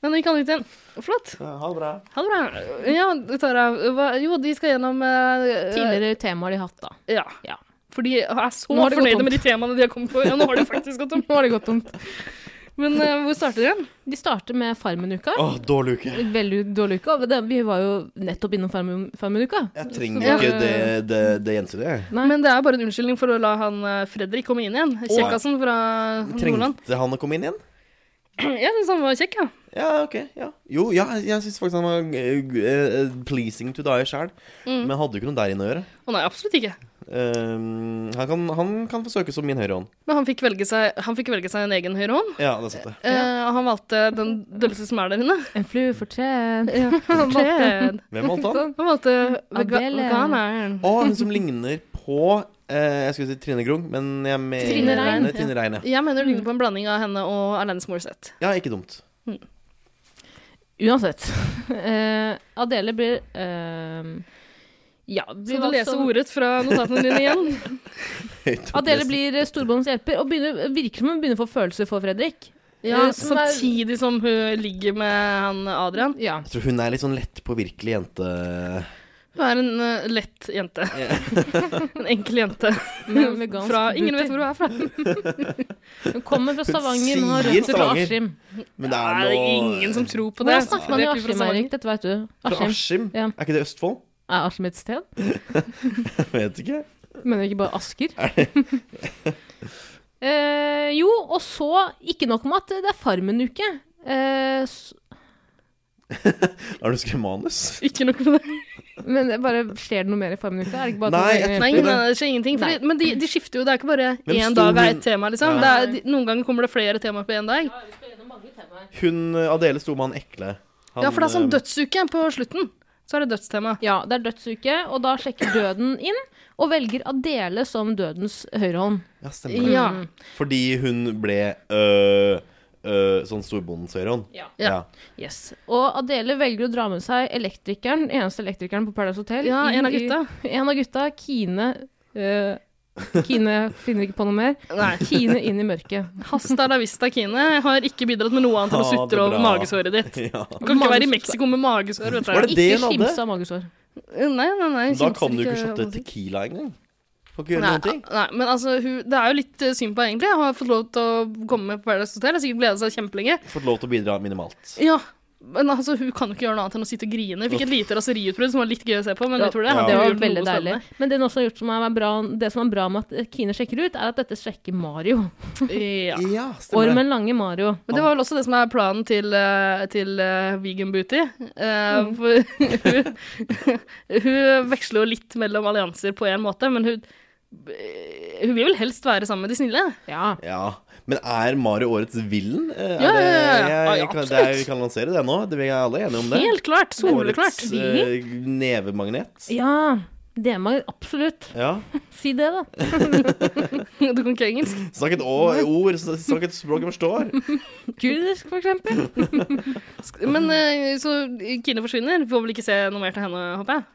[SPEAKER 4] Men vi kan ut igjen. Flott.
[SPEAKER 3] Ja, Ha det bra.
[SPEAKER 4] Ha det bra. Ja, Tara. Hva, jo, de skal gjennom eh,
[SPEAKER 5] Tidligere temaer de har hatt, da.
[SPEAKER 4] Ja.
[SPEAKER 5] Ja.
[SPEAKER 4] For de er så
[SPEAKER 5] Nå har det gått
[SPEAKER 4] fornøyde
[SPEAKER 5] tomt.
[SPEAKER 4] med de temaene de har kommet på. Ja, nå har de faktisk gått om.
[SPEAKER 5] Nå har det gått tomt.
[SPEAKER 4] Men eh, hvor starter de igjen?
[SPEAKER 5] De starter med Farmen-uka.
[SPEAKER 3] Åh, dårlig uke.
[SPEAKER 5] Veldig dårlig uke. og det- Vi var jo nettopp innom Farmen- Farmen-uka.
[SPEAKER 3] Jeg trenger
[SPEAKER 4] Ja.
[SPEAKER 3] ikke det, det, det gjensynet, jeg.
[SPEAKER 5] Nei.
[SPEAKER 4] Men det er bare en unnskyldning for å la han eh, Fredrik komme inn igjen. Kjekkasen fra Nordland.
[SPEAKER 3] Trengte han å komme inn igjen?
[SPEAKER 4] Ja, synes han var kjekk, ja.
[SPEAKER 3] Ja, ok. ja Jo, ja, jeg syns faktisk han var eh, eh, pleasing to die sjæl.
[SPEAKER 4] Mm.
[SPEAKER 3] Men hadde jo ikke noe der inne å gjøre.
[SPEAKER 4] Å nei, absolutt ikke.
[SPEAKER 3] Ehm, han, kan, han kan forsøke som min høyre hånd.
[SPEAKER 4] Men han fikk velge seg, han fikk velge seg en egen høyre hånd.
[SPEAKER 3] Ja, det satt det.
[SPEAKER 4] Eh, og han valgte den dølleste som er der inne.
[SPEAKER 5] En flue for treen.
[SPEAKER 4] Ja, han valgte,
[SPEAKER 3] Hvem valgte han?
[SPEAKER 4] han valgte vega
[SPEAKER 5] Adele.
[SPEAKER 4] veganeren.
[SPEAKER 3] Å, hun som ligner på eh, Jeg skulle si Trine Grung, men jeg mener
[SPEAKER 4] Trine Rein.
[SPEAKER 3] Trine Rein, ja.
[SPEAKER 4] Jeg mener det ligner på en blanding av henne og Alanis Morissette.
[SPEAKER 3] ja, ikke dumt.
[SPEAKER 5] Uansett. Eh, Adele blir eh, Ja.
[SPEAKER 4] Skal
[SPEAKER 5] blir
[SPEAKER 4] du
[SPEAKER 5] valgt
[SPEAKER 4] lese
[SPEAKER 5] som-
[SPEAKER 4] ordet fra notatene dine igjen?
[SPEAKER 3] Høyt opp
[SPEAKER 5] Adele
[SPEAKER 3] listen.
[SPEAKER 5] blir eh, storbåndens hjelper og begynner, virker som hun begynner å få følelser for Fredrik.
[SPEAKER 4] Ja,
[SPEAKER 5] Eh, som er-
[SPEAKER 4] Samtidig som hun ligger med han Adrian.
[SPEAKER 5] Ja.
[SPEAKER 3] Jeg tror hun er litt sånn lettpåvirkelig jente.
[SPEAKER 4] Hun er en eh, lett jente. en enkel jente.
[SPEAKER 5] Med vegansk
[SPEAKER 4] Fra, ingen vet
[SPEAKER 5] booty.
[SPEAKER 4] hvor hun er fra.
[SPEAKER 5] Hun kommer fra Stavanger, men
[SPEAKER 3] sier
[SPEAKER 5] har røtter til
[SPEAKER 3] Stavanger.
[SPEAKER 5] Askim.
[SPEAKER 3] Men det
[SPEAKER 4] Det
[SPEAKER 3] er
[SPEAKER 4] er
[SPEAKER 3] noe
[SPEAKER 4] ingen som tror på det.
[SPEAKER 5] Hvordan snakker man i
[SPEAKER 4] Vet vi fra
[SPEAKER 5] Askim,
[SPEAKER 4] Stavanger?
[SPEAKER 5] Eirik? Dette vet du.
[SPEAKER 3] Fra
[SPEAKER 5] Askim.
[SPEAKER 3] Askim?
[SPEAKER 5] Ja.
[SPEAKER 3] Er ikke det Østfold?
[SPEAKER 5] Er Askim et sted?
[SPEAKER 3] Jeg vet ikke.
[SPEAKER 5] Mener ikke bare Asker? eh, jo, og så Ikke nok med at det er Farmen-uke. Eh, s-
[SPEAKER 3] Har du skrevet manus?
[SPEAKER 4] Ikke noe med det.
[SPEAKER 5] men det bare skjer det noe mer i Farmen-uka? Er det ikke bare
[SPEAKER 3] Nei,
[SPEAKER 5] at-
[SPEAKER 3] jeg
[SPEAKER 4] Nei,
[SPEAKER 3] tror
[SPEAKER 4] nei, det skjer ingenting.
[SPEAKER 5] Nei.
[SPEAKER 4] Fordi, men de, de skifter jo. Det er ikke bare
[SPEAKER 3] Men
[SPEAKER 4] én
[SPEAKER 3] stor
[SPEAKER 4] dag er
[SPEAKER 3] hun-
[SPEAKER 4] ett tema, liksom. Det
[SPEAKER 5] Ja.
[SPEAKER 4] er, de, noen ganger kommer det flere temaer på én dag.
[SPEAKER 3] Hun eh, Adele sto med han ekle. Han,
[SPEAKER 4] Ja, for det er sånn
[SPEAKER 3] eh,
[SPEAKER 4] dødsuke på slutten. Så er det dødstema.
[SPEAKER 5] Ja, det er dødsuke, og da sjekker døden inn og velger Adele som dødens høyrehånd.
[SPEAKER 4] Mm.
[SPEAKER 3] Ja, stemmer det.
[SPEAKER 4] Ja.
[SPEAKER 3] Fordi hun ble øh, øh, sånn storbondens høyreånd.
[SPEAKER 5] Ja.
[SPEAKER 4] Ja.
[SPEAKER 5] Yes. Og Adele velger å dra med seg elektrikeren, eneste elektrikeren på Paradise Hotel.
[SPEAKER 4] Ja,
[SPEAKER 5] inn
[SPEAKER 4] en av
[SPEAKER 5] i-
[SPEAKER 4] gutta.
[SPEAKER 5] En av gutta, Kine øh, Kine finner ikke på noe mer.
[SPEAKER 4] Nei.
[SPEAKER 5] Kine inn i mørket.
[SPEAKER 4] Hasta la vista, Kine. Jeg har ikke bidratt med noe annet enn å
[SPEAKER 3] Ha det
[SPEAKER 4] sutre over
[SPEAKER 3] bra.
[SPEAKER 4] magesåret ditt.
[SPEAKER 3] Ja.
[SPEAKER 4] Du kan ikke være i
[SPEAKER 5] Magesår.
[SPEAKER 4] Mexico med magesår, vet
[SPEAKER 3] Var
[SPEAKER 4] du.
[SPEAKER 3] det det hun
[SPEAKER 5] Ikke
[SPEAKER 3] hadde?
[SPEAKER 5] skimse av magesår.
[SPEAKER 4] Nei, nei, nei.
[SPEAKER 3] Da
[SPEAKER 4] kimser
[SPEAKER 3] kan du ikke shotte
[SPEAKER 4] overhodet.
[SPEAKER 3] tequila engang. Får ikke gjøre
[SPEAKER 4] Nei,
[SPEAKER 3] noen ting.
[SPEAKER 4] nei, men altså, hun, det er jo litt eh, synd på henne, egentlig. Hun har fått lov til å komme med på Paradise Hotel. Har sikkert gleda seg kjempelenge.
[SPEAKER 3] Fått lov til å bidra minimalt.
[SPEAKER 4] Ja, men altså, hun kan jo ikke gjøre noe annet enn å sitte og grine. Fikk et lite raseriutbrudd som var litt gøy å se på, men
[SPEAKER 5] Ja,
[SPEAKER 4] utover det
[SPEAKER 5] det
[SPEAKER 4] hadde hun
[SPEAKER 5] var
[SPEAKER 4] gjort
[SPEAKER 5] veldig
[SPEAKER 4] noe
[SPEAKER 5] deilig.
[SPEAKER 4] spennende.
[SPEAKER 5] Men det, hun også har gjort som er bra, det som er bra med at Kine sjekker ut, er at dette sjekker Mario.
[SPEAKER 4] Ja.
[SPEAKER 3] Ja, stemmer det.
[SPEAKER 5] Ormen Lange Mario.
[SPEAKER 4] Men det var vel også det som er planen til, eh, til eh, Vegan Booty. Eh,
[SPEAKER 5] Mm.
[SPEAKER 4] for hun, hun veksler jo litt mellom allianser på én måte, men hun, hun vil vel helst være sammen med de snille.
[SPEAKER 5] Ja.
[SPEAKER 3] Ja. Men er Mario årets villen? Eh, Er
[SPEAKER 4] Ja, ja, ja, ja.
[SPEAKER 3] det-
[SPEAKER 4] Ja,
[SPEAKER 3] Jeg,
[SPEAKER 4] ja,
[SPEAKER 3] jeg kan, det er,
[SPEAKER 4] absolutt.
[SPEAKER 3] vi kan lansere det nå. Det, vi er alle enige om det.
[SPEAKER 4] Helt klart. Soleklart.
[SPEAKER 3] Årets eh, nevemagnet.
[SPEAKER 5] ja. DM-er, absolutt.
[SPEAKER 3] Ja.
[SPEAKER 5] Si det, da.
[SPEAKER 4] Du kan ikke engelsk.
[SPEAKER 3] Snakk et å- ord, snakk et språk jeg forstår.
[SPEAKER 5] Kurdisk, for eksempel.
[SPEAKER 4] Men eh, så Kine forsvinner. Får vel ikke se noe mer til henne, håper jeg.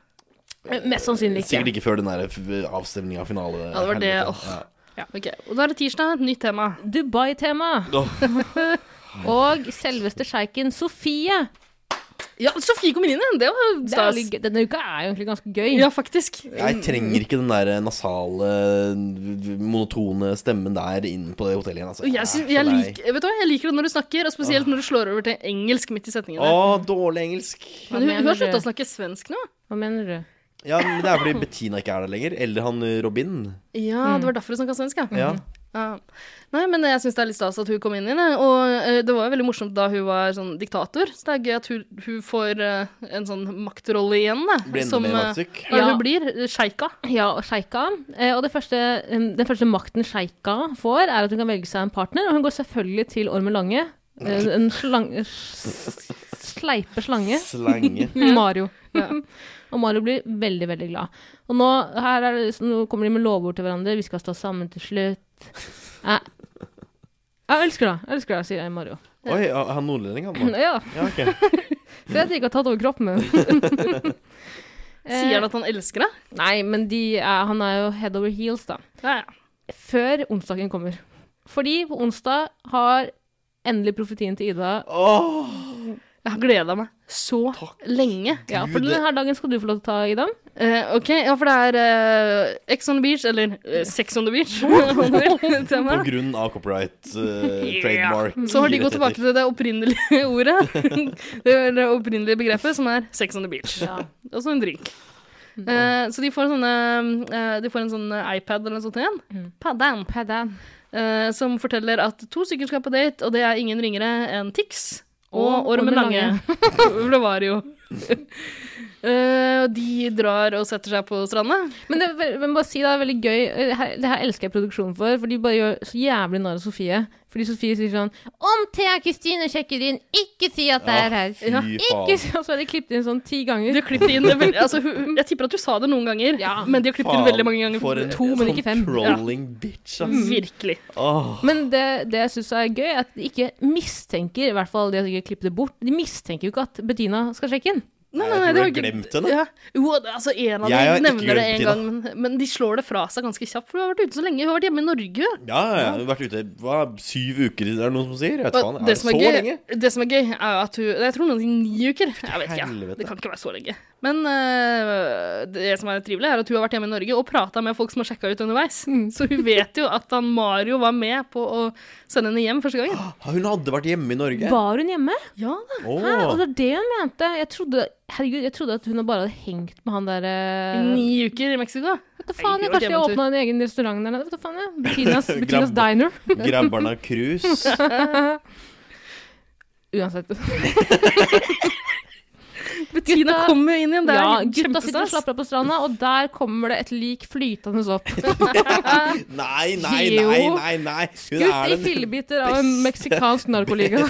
[SPEAKER 5] Eh, Mest sannsynlig
[SPEAKER 3] Sikkert
[SPEAKER 5] ikke.
[SPEAKER 3] ikke før den der avstemninga av finale.
[SPEAKER 4] Ja, det var det.
[SPEAKER 3] helvete.
[SPEAKER 4] Åh. Ok, Og da er det tirsdag. Nytt tema.
[SPEAKER 5] Dubai-tema. Og selveste sjeiken Sofie.
[SPEAKER 4] Ja, Sofie kommer inn igjen! Det var
[SPEAKER 5] Det er
[SPEAKER 4] stas.
[SPEAKER 5] litt gøy. Denne uka er jo egentlig ganske gøy.
[SPEAKER 4] Ja, faktisk.
[SPEAKER 3] Jeg trenger ikke den der nasale, monotone stemmen der inn på det hotellet igjen. Altså.
[SPEAKER 4] Og jeg,
[SPEAKER 3] er
[SPEAKER 4] syns-
[SPEAKER 3] så
[SPEAKER 4] jeg,
[SPEAKER 3] lei.
[SPEAKER 4] liker, vet du hva, jeg liker det når du snakker, og
[SPEAKER 3] Ah.
[SPEAKER 4] spesielt når du slår over til engelsk midt i
[SPEAKER 3] Å,
[SPEAKER 4] setningene.
[SPEAKER 3] dårlig engelsk.
[SPEAKER 5] Hva
[SPEAKER 4] Men hun, hun
[SPEAKER 5] mener
[SPEAKER 4] har slutta
[SPEAKER 5] du?
[SPEAKER 4] å snakke svensk nå.
[SPEAKER 5] Hva mener du?
[SPEAKER 3] Ja, men Det er fordi Bettina ikke er der lenger. Eller han Robin.
[SPEAKER 4] Ja, det var derfor hun snakka svensk, ja.
[SPEAKER 3] Ja.
[SPEAKER 4] Ja. Nei, men jeg syns det er litt stas at hun kom inn i det. Og eh, det var jo veldig morsomt da hun var sånn diktator, så det er gøy at hun, hun får eh, en sånn maktrolle igjen, da.
[SPEAKER 3] Blir enda
[SPEAKER 4] som,
[SPEAKER 3] mer
[SPEAKER 4] eh,
[SPEAKER 3] maktsyk.
[SPEAKER 4] Hva er det
[SPEAKER 5] Ja.
[SPEAKER 4] hun blir? eh, Sjeika.
[SPEAKER 5] Ja, og sjeika. Eh, Og det første, eh, den første makten sjeika får, er at hun kan velge seg en partner, og hun går selvfølgelig til Ormen Lange. Eh, En slang, s- sleipe slange.
[SPEAKER 3] Slange.
[SPEAKER 5] Mario.
[SPEAKER 4] Ja.
[SPEAKER 5] og Mario blir veldig, veldig glad. Og nå, her er det, så nå kommer de med lovord til hverandre. Vi skal stå sammen til slutt. Jeg, jeg elsker deg, jeg elsker deg, sier jeg, Mario.
[SPEAKER 3] Oi, er han nordlending, han nå?
[SPEAKER 5] Ja,
[SPEAKER 3] Ja, ok.
[SPEAKER 5] for jeg ikke har tatt over kroppen min.
[SPEAKER 4] Sier han at han elsker deg?
[SPEAKER 5] Nei, men de er, han er jo head over heels, da.
[SPEAKER 4] Ja, ja.
[SPEAKER 5] før onsdagen kommer. Fordi på onsdag har endelig profetien til Ida
[SPEAKER 3] Åh,
[SPEAKER 4] Jeg har gleda meg så lenge.
[SPEAKER 5] Ja, for
[SPEAKER 3] Gud, det-
[SPEAKER 5] denne dagen skal du få lov til å ta, Ida.
[SPEAKER 4] Eh, ok, ja, for det er eh, Ex on the beach, eller eh, Sex on the beach, om du vil,
[SPEAKER 3] på
[SPEAKER 4] tema.
[SPEAKER 3] grunn av copyright, eh,
[SPEAKER 4] Ja.
[SPEAKER 3] trademark
[SPEAKER 4] Så har de gått tilbake til det opprinnelige ordet. Det, det opprinnelige begrepet, som er Sex on the beach. Og så en drink. Eh, så de får, sånne, eh, de får en sånn iPad eller noe sånt igjen. Paddan.
[SPEAKER 5] Paddan.
[SPEAKER 4] Eh, som forteller at to stykker skal på date, og det er ingen ringere enn Tix og Ormen Lange. For det var det jo. Eh, og de drar og setter seg på stranda.
[SPEAKER 5] Men det, er vel- men bare si det er veldig gøy. Eh, her- Det her elsker jeg produksjonen for, for de bare gjør så jævlig narr av Sofie. Fordi Sofie sier sånn Om Thea Kristine sjekker inn, ikke si at det er her.
[SPEAKER 3] Ja, fy
[SPEAKER 5] Ikke si Og så har de klippet inn sånn ti
[SPEAKER 4] De
[SPEAKER 5] ganger.
[SPEAKER 4] har klippet inn det veldig, altså, hun- Jeg tipper at du sa det noen ganger, men de har klippet inn
[SPEAKER 3] faen.
[SPEAKER 4] veldig mange ganger.
[SPEAKER 3] For en
[SPEAKER 5] To, men ikke fem.
[SPEAKER 3] controlling bitch, ass.
[SPEAKER 4] Virkelig.
[SPEAKER 3] Åh.
[SPEAKER 5] Men det, det jeg syns er gøy, er at de ikke mistenker, i hvert fall de har sikkert klippet det bort, de mistenker jo ikke at Bettina skal sjekke inn.
[SPEAKER 4] Nei,
[SPEAKER 3] Jeg
[SPEAKER 4] nei, nei,
[SPEAKER 3] tror
[SPEAKER 4] det var
[SPEAKER 3] jeg
[SPEAKER 4] ikke-
[SPEAKER 3] glemt henne.
[SPEAKER 4] Ja. Jo, det- altså, en av
[SPEAKER 3] Jeg har
[SPEAKER 4] dem
[SPEAKER 3] ikke
[SPEAKER 4] nevner
[SPEAKER 3] glemt
[SPEAKER 4] det en
[SPEAKER 3] det,
[SPEAKER 4] gang, men, men de slår det fra seg ganske kjapt, for hun har vært ute så lenge. Hun har vært hjemme i Norge. hun.
[SPEAKER 3] Ja, ja, ja. Hun har vært ute hva, syv uker, er det noen som sier? Jeg vet faen.
[SPEAKER 4] Og
[SPEAKER 3] Er
[SPEAKER 4] det
[SPEAKER 3] det
[SPEAKER 4] som
[SPEAKER 3] så
[SPEAKER 4] er, gøy,
[SPEAKER 3] lenge?
[SPEAKER 4] det som er gøy, er jo at hun Jeg tror noen sier ni uker. Jeg vet ikke.
[SPEAKER 3] helvete.
[SPEAKER 4] jeg. Det kan ikke være så lenge. Men øh, det som er trivelig, er at hun har vært hjemme i Norge og prata med folk som har sjekka ut underveis. Så hun vet jo at han Mario var med på å sende henne hjem første gangen.
[SPEAKER 3] Ah, Hun hadde vært hjemme i Norge.
[SPEAKER 5] Var hun hjemme?
[SPEAKER 4] Ja da.
[SPEAKER 3] Åh.
[SPEAKER 5] Hæ? Og det er det hun mente. Jeg trodde, herregud, jeg trodde at hun bare hadde hengt med han der eh,
[SPEAKER 4] Ni uker i Mexico.
[SPEAKER 5] Vet du faen,
[SPEAKER 4] Nei,
[SPEAKER 5] jeg,
[SPEAKER 4] det var
[SPEAKER 5] Kanskje de har
[SPEAKER 4] hjemmetur.
[SPEAKER 5] åpna en egen restaurant der nede? Vet du faen, jeg. Bettinas, Bettinas
[SPEAKER 3] Grabbe.
[SPEAKER 5] Diner.
[SPEAKER 3] Grabber'n av krus.
[SPEAKER 5] Uansett.
[SPEAKER 4] Tina
[SPEAKER 5] Gutta-
[SPEAKER 4] kommer jo inn igjen. Det er
[SPEAKER 5] ja, gutta sitter og
[SPEAKER 4] kjempestas.
[SPEAKER 5] slapper av på stranda, og der kommer det et lik flytende opp.
[SPEAKER 3] Nei, nei,
[SPEAKER 5] Jo.
[SPEAKER 3] nei, nei, nei. Hun
[SPEAKER 5] Skutt i
[SPEAKER 3] den-
[SPEAKER 5] fillebiter av en
[SPEAKER 3] beste-
[SPEAKER 5] meksikansk narkoliga.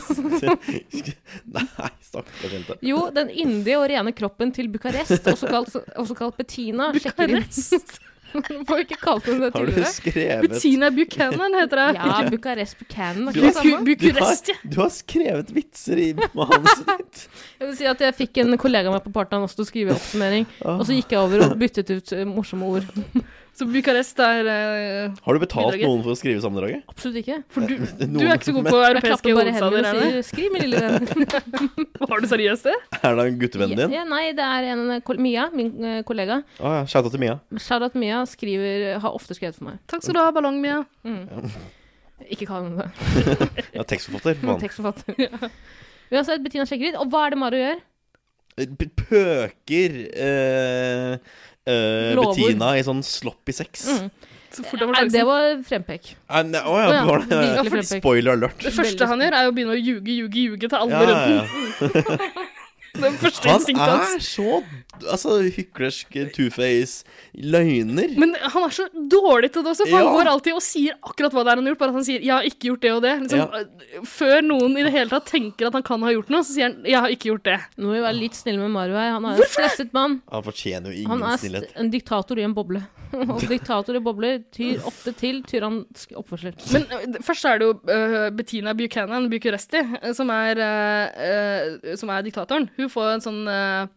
[SPEAKER 3] Nei, stakkars jente.
[SPEAKER 5] Jo, den yndige og rene kroppen til Bucarest, også kalt, også kalt Bettina, sjekker inn.
[SPEAKER 4] Bucarest.
[SPEAKER 5] Du får ikke kalt henne det
[SPEAKER 3] Har du
[SPEAKER 5] tidligere.
[SPEAKER 3] skrevet
[SPEAKER 4] Bettina Buchanan heter det.
[SPEAKER 5] Ja, Bucarest Buchanan.
[SPEAKER 3] Du
[SPEAKER 5] er ikke det
[SPEAKER 4] Bucu-
[SPEAKER 3] du
[SPEAKER 5] samme?
[SPEAKER 3] har,
[SPEAKER 4] Bucuresti.
[SPEAKER 3] du har skrevet vitser i manuset ditt.
[SPEAKER 5] Jeg vil si at jeg fikk en kollega av meg på partneren også til å skrive oppsummering, og så gikk jeg over og byttet ut eh, morsomme ord.
[SPEAKER 4] Så Bucarest er eh,
[SPEAKER 3] Har du betalt
[SPEAKER 4] Bidraget.
[SPEAKER 3] noen for å skrive sammendraget?
[SPEAKER 5] Absolutt ikke.
[SPEAKER 4] For du,
[SPEAKER 3] Noen-
[SPEAKER 4] du er ikke så god på
[SPEAKER 5] Jeg
[SPEAKER 4] europeiske
[SPEAKER 5] klapper bare hendene
[SPEAKER 4] hovedstader,
[SPEAKER 5] og
[SPEAKER 4] er du?
[SPEAKER 5] sier 'skriv, min lille venn'.
[SPEAKER 4] Var du seriøst det?
[SPEAKER 3] Er det en guttevenn din?
[SPEAKER 5] Ja, nei, det er en eh, kol- Mia, min eh, kollega.
[SPEAKER 3] Å ja, Shouta til Mia.
[SPEAKER 5] Sharat Mia skriver, har ofte skrevet for meg.
[SPEAKER 4] Takk skal du ha, ballong, Mia.
[SPEAKER 5] Ikke kall henne det.
[SPEAKER 3] Ja, tekstforfatter.
[SPEAKER 5] Hun er
[SPEAKER 3] Faen.
[SPEAKER 5] tekstforfatter. Uansett, Bettina sjekker ut. Og hva er det Mario gjør?
[SPEAKER 3] P- Eh, Pøker eh, eh,
[SPEAKER 5] Lovord.
[SPEAKER 3] Bettina i sånn sloppy sex.
[SPEAKER 5] Mm.
[SPEAKER 4] Så fort han
[SPEAKER 5] Nei,
[SPEAKER 4] får
[SPEAKER 5] det
[SPEAKER 4] sjansen.
[SPEAKER 5] var frempek.
[SPEAKER 3] Nei, nei, Å ja,
[SPEAKER 4] Å ja,
[SPEAKER 3] var det-
[SPEAKER 5] virkelig
[SPEAKER 3] fordi-
[SPEAKER 5] frempek.
[SPEAKER 3] Spoiler alert.
[SPEAKER 4] Det første han gjør, er å begynne å ljuge, ljuge, ljuge til alle
[SPEAKER 3] Ja,
[SPEAKER 4] rundt
[SPEAKER 3] ja,
[SPEAKER 4] den.
[SPEAKER 3] ja.
[SPEAKER 4] Den første
[SPEAKER 3] Han
[SPEAKER 4] instinktet hans.
[SPEAKER 3] er så altså, hyklersk, two-face, løgner.
[SPEAKER 4] Men han er så dårlig til det også, for
[SPEAKER 3] Ja.
[SPEAKER 4] han går alltid og sier akkurat hva det er han har gjort, bare at han sier 'jeg har ikke gjort det og det'. Liksom, Før noen i det hele tatt tenker at han kan ha gjort noe, så sier han 'jeg har ikke gjort det'.
[SPEAKER 5] Nå må vi være litt snille med Mario her. Han er en stresset mann.
[SPEAKER 3] Han fortjener jo
[SPEAKER 5] Han
[SPEAKER 3] ingen
[SPEAKER 5] er
[SPEAKER 3] snillhet.
[SPEAKER 5] st- en diktator i en boble. Og diktator i bobler tyr ofte til tyransk oppførsel.
[SPEAKER 4] Men ø, d- først er det jo ø, Bettina Buchanan Bucuresti ø, som er, ø, ø, som er diktatoren. Hun får en sånn ø,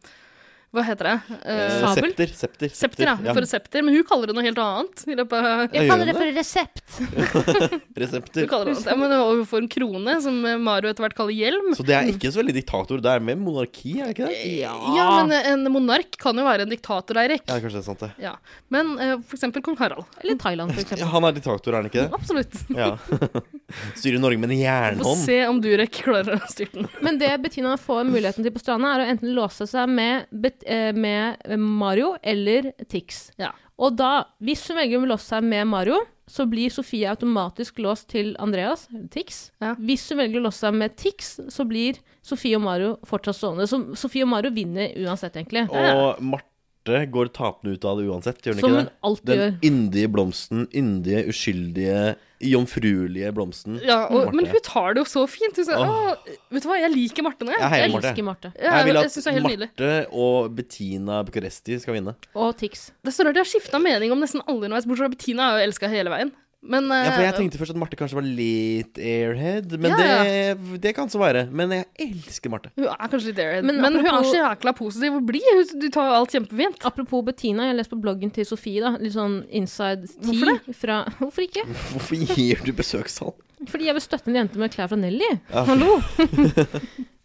[SPEAKER 4] Hva heter det?
[SPEAKER 3] Eh,
[SPEAKER 4] Ø,
[SPEAKER 5] Sabel?
[SPEAKER 3] Septer. Septer,
[SPEAKER 4] septer, ja. For et septer. Men hun kaller det noe helt annet. I løpet av
[SPEAKER 3] Jeg kaller det for
[SPEAKER 5] resept.
[SPEAKER 4] hun
[SPEAKER 3] Resepter.
[SPEAKER 4] kaller det noe annet. Ja, men hun får en krone, som Mario etter hvert kaller hjelm.
[SPEAKER 3] Så det er ikke så veldig diktator. Det er mer monarki, er det ikke det?
[SPEAKER 5] Ja.
[SPEAKER 4] Ja, men ø, en monark kan jo være en diktator, Eirik.
[SPEAKER 3] Ja, kanskje det er sant, det.
[SPEAKER 4] Ja. Men ø, for eksempel kong Harald.
[SPEAKER 5] Eller Thailand, for
[SPEAKER 3] Ja,
[SPEAKER 5] eksempel.
[SPEAKER 3] han er diktator, er han ikke det?
[SPEAKER 4] Absolutt.
[SPEAKER 3] Ja. Styrer Norge med en
[SPEAKER 4] Vi
[SPEAKER 3] jernhånd.
[SPEAKER 4] får se om Durek klarer å styre den.
[SPEAKER 5] Men det Bettina får muligheten til på stranda, er å enten låse seg med, Bet- eh, med Mario eller Tix.
[SPEAKER 4] Ja.
[SPEAKER 5] Og da, hvis hun velger å låse seg med Mario, så blir Sofie automatisk låst til Andreas, eller Tix.
[SPEAKER 4] Ja.
[SPEAKER 5] Hvis hun velger å låse seg med Tix, så blir Sofie og Mario fortsatt stående. Så Sofie og Mario vinner uansett, egentlig.
[SPEAKER 3] Og Marte går tapende ut av det uansett, gjør hun
[SPEAKER 5] Som
[SPEAKER 3] ikke
[SPEAKER 5] hun
[SPEAKER 3] det?
[SPEAKER 5] alltid
[SPEAKER 3] Den
[SPEAKER 5] gjør.
[SPEAKER 3] yndige blomsten, yndige, uskyldige, jomfruelige blomsten.
[SPEAKER 4] Ja, og,
[SPEAKER 3] Marte.
[SPEAKER 4] men hun tar det jo så fint. Hun sier,
[SPEAKER 3] Åh.
[SPEAKER 4] «Å, vet du hva, jeg liker Marte nå, jeg.
[SPEAKER 3] Jeg heier
[SPEAKER 4] jeg,
[SPEAKER 3] Marte.
[SPEAKER 5] Elsker Marte.
[SPEAKER 4] Ja,
[SPEAKER 3] Jeg vil
[SPEAKER 4] jeg
[SPEAKER 3] at
[SPEAKER 4] synes det er helt nydelig.
[SPEAKER 3] Marte og Bettina Bucuresti skal vinne.
[SPEAKER 5] Og Tix.
[SPEAKER 4] Det er så rart, jeg har skifta mening om nesten alle underveis, bortsett fra Bettina har jo elska hele veien. Men
[SPEAKER 3] Ja, for Jeg
[SPEAKER 4] eh,
[SPEAKER 3] tenkte først at Marte kanskje var litt airhead, men
[SPEAKER 4] Ja,
[SPEAKER 3] Det, det kan så være. Men jeg elsker Marte.
[SPEAKER 4] hun er kanskje litt airhead.
[SPEAKER 5] Men
[SPEAKER 4] Men, hun er
[SPEAKER 5] apropos-
[SPEAKER 4] så jækla positiv og blid. Hun- Du tar jo alt kjempefint.
[SPEAKER 5] Apropos Bettina, jeg har lest på bloggen til Sofie, da. Litt sånn inside tea
[SPEAKER 4] Hvorfor
[SPEAKER 5] fra Hvorfor ikke?
[SPEAKER 3] Hvorfor gir du besøkstall?
[SPEAKER 5] Fordi jeg vil støtte en jente med klær fra Nelly.
[SPEAKER 3] Ja.
[SPEAKER 5] Hallo!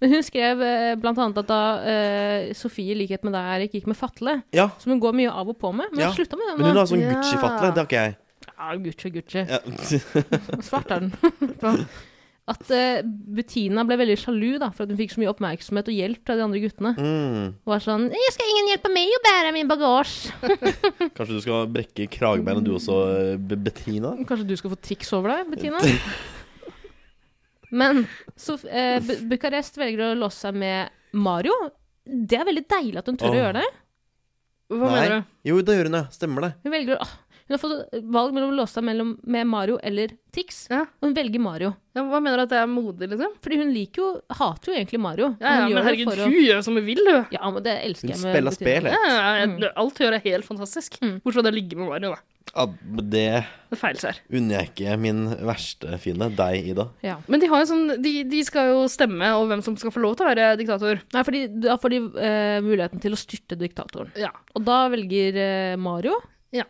[SPEAKER 5] Men hun skrev eh, blant annet at da eh, Sofie, i likhet med deg, Erik, gikk med fatle,
[SPEAKER 3] Ja,
[SPEAKER 5] som hun går mye av og på med, men
[SPEAKER 3] Ja.
[SPEAKER 5] hun slutta med det
[SPEAKER 3] men hun
[SPEAKER 5] nå.
[SPEAKER 3] har sånn
[SPEAKER 4] Ja.
[SPEAKER 3] Gucci-fatle. Det har ikke jeg.
[SPEAKER 5] Ja, Gucci, Gucci.
[SPEAKER 3] Ja.
[SPEAKER 5] Svart er den. På. At eh, Bettina ble veldig sjalu da, for at hun fikk så mye oppmerksomhet og hjelp fra de andre guttene.
[SPEAKER 3] Mm.
[SPEAKER 5] Hun var sånn 'Jeg skal ingen hjelpe meg å bære min bagasje'.
[SPEAKER 3] Kanskje du skal brekke kragebeinet du også, Be- Bettina?
[SPEAKER 5] Kanskje du skal få triks over deg, Bettina? Men så, eh, Bu- Bucarest velger å låse seg med Mario. Det er veldig deilig at hun tør å
[SPEAKER 3] Åh.
[SPEAKER 5] gjøre det.
[SPEAKER 4] Hva
[SPEAKER 3] Nei.
[SPEAKER 4] mener du?
[SPEAKER 3] Jo, det gjør hun, ja. Stemmer det.
[SPEAKER 5] Hun, velger, å- ah, hun har fått valg mellom å låse seg mellom, med Mario eller Tix,
[SPEAKER 4] Ja.
[SPEAKER 5] og hun velger Mario.
[SPEAKER 4] Ja, hva mener du at jeg er modig, liksom?
[SPEAKER 5] Fordi hun liker jo, hater jo egentlig Mario.
[SPEAKER 4] Ja, ja,
[SPEAKER 5] hun
[SPEAKER 4] men
[SPEAKER 5] gjør det
[SPEAKER 4] herregud,
[SPEAKER 5] for å-
[SPEAKER 4] hun gjør som hun vil, hun.
[SPEAKER 5] Ja, men det
[SPEAKER 3] Hun
[SPEAKER 5] elsker jeg med
[SPEAKER 3] spiller spel,
[SPEAKER 5] Bettina.
[SPEAKER 4] Ja,
[SPEAKER 3] jeg.
[SPEAKER 4] ja, jeg- Alt hun gjør, er helt fantastisk.
[SPEAKER 5] Mm.
[SPEAKER 4] Bortsett fra det å ligge med Mario, da.
[SPEAKER 3] Ja, det
[SPEAKER 4] Det feilskjær.
[SPEAKER 3] unner jeg ikke min verste fiende. Deg, Ida.
[SPEAKER 5] Ja.
[SPEAKER 4] Men de, har jo sånn, de, de skal jo stemme over hvem som skal få lov til å være diktator.
[SPEAKER 5] Nei, fordi da får de eh, muligheten til å styrte diktatoren.
[SPEAKER 4] Ja.
[SPEAKER 5] Og da velger eh, Mario.
[SPEAKER 4] Ja.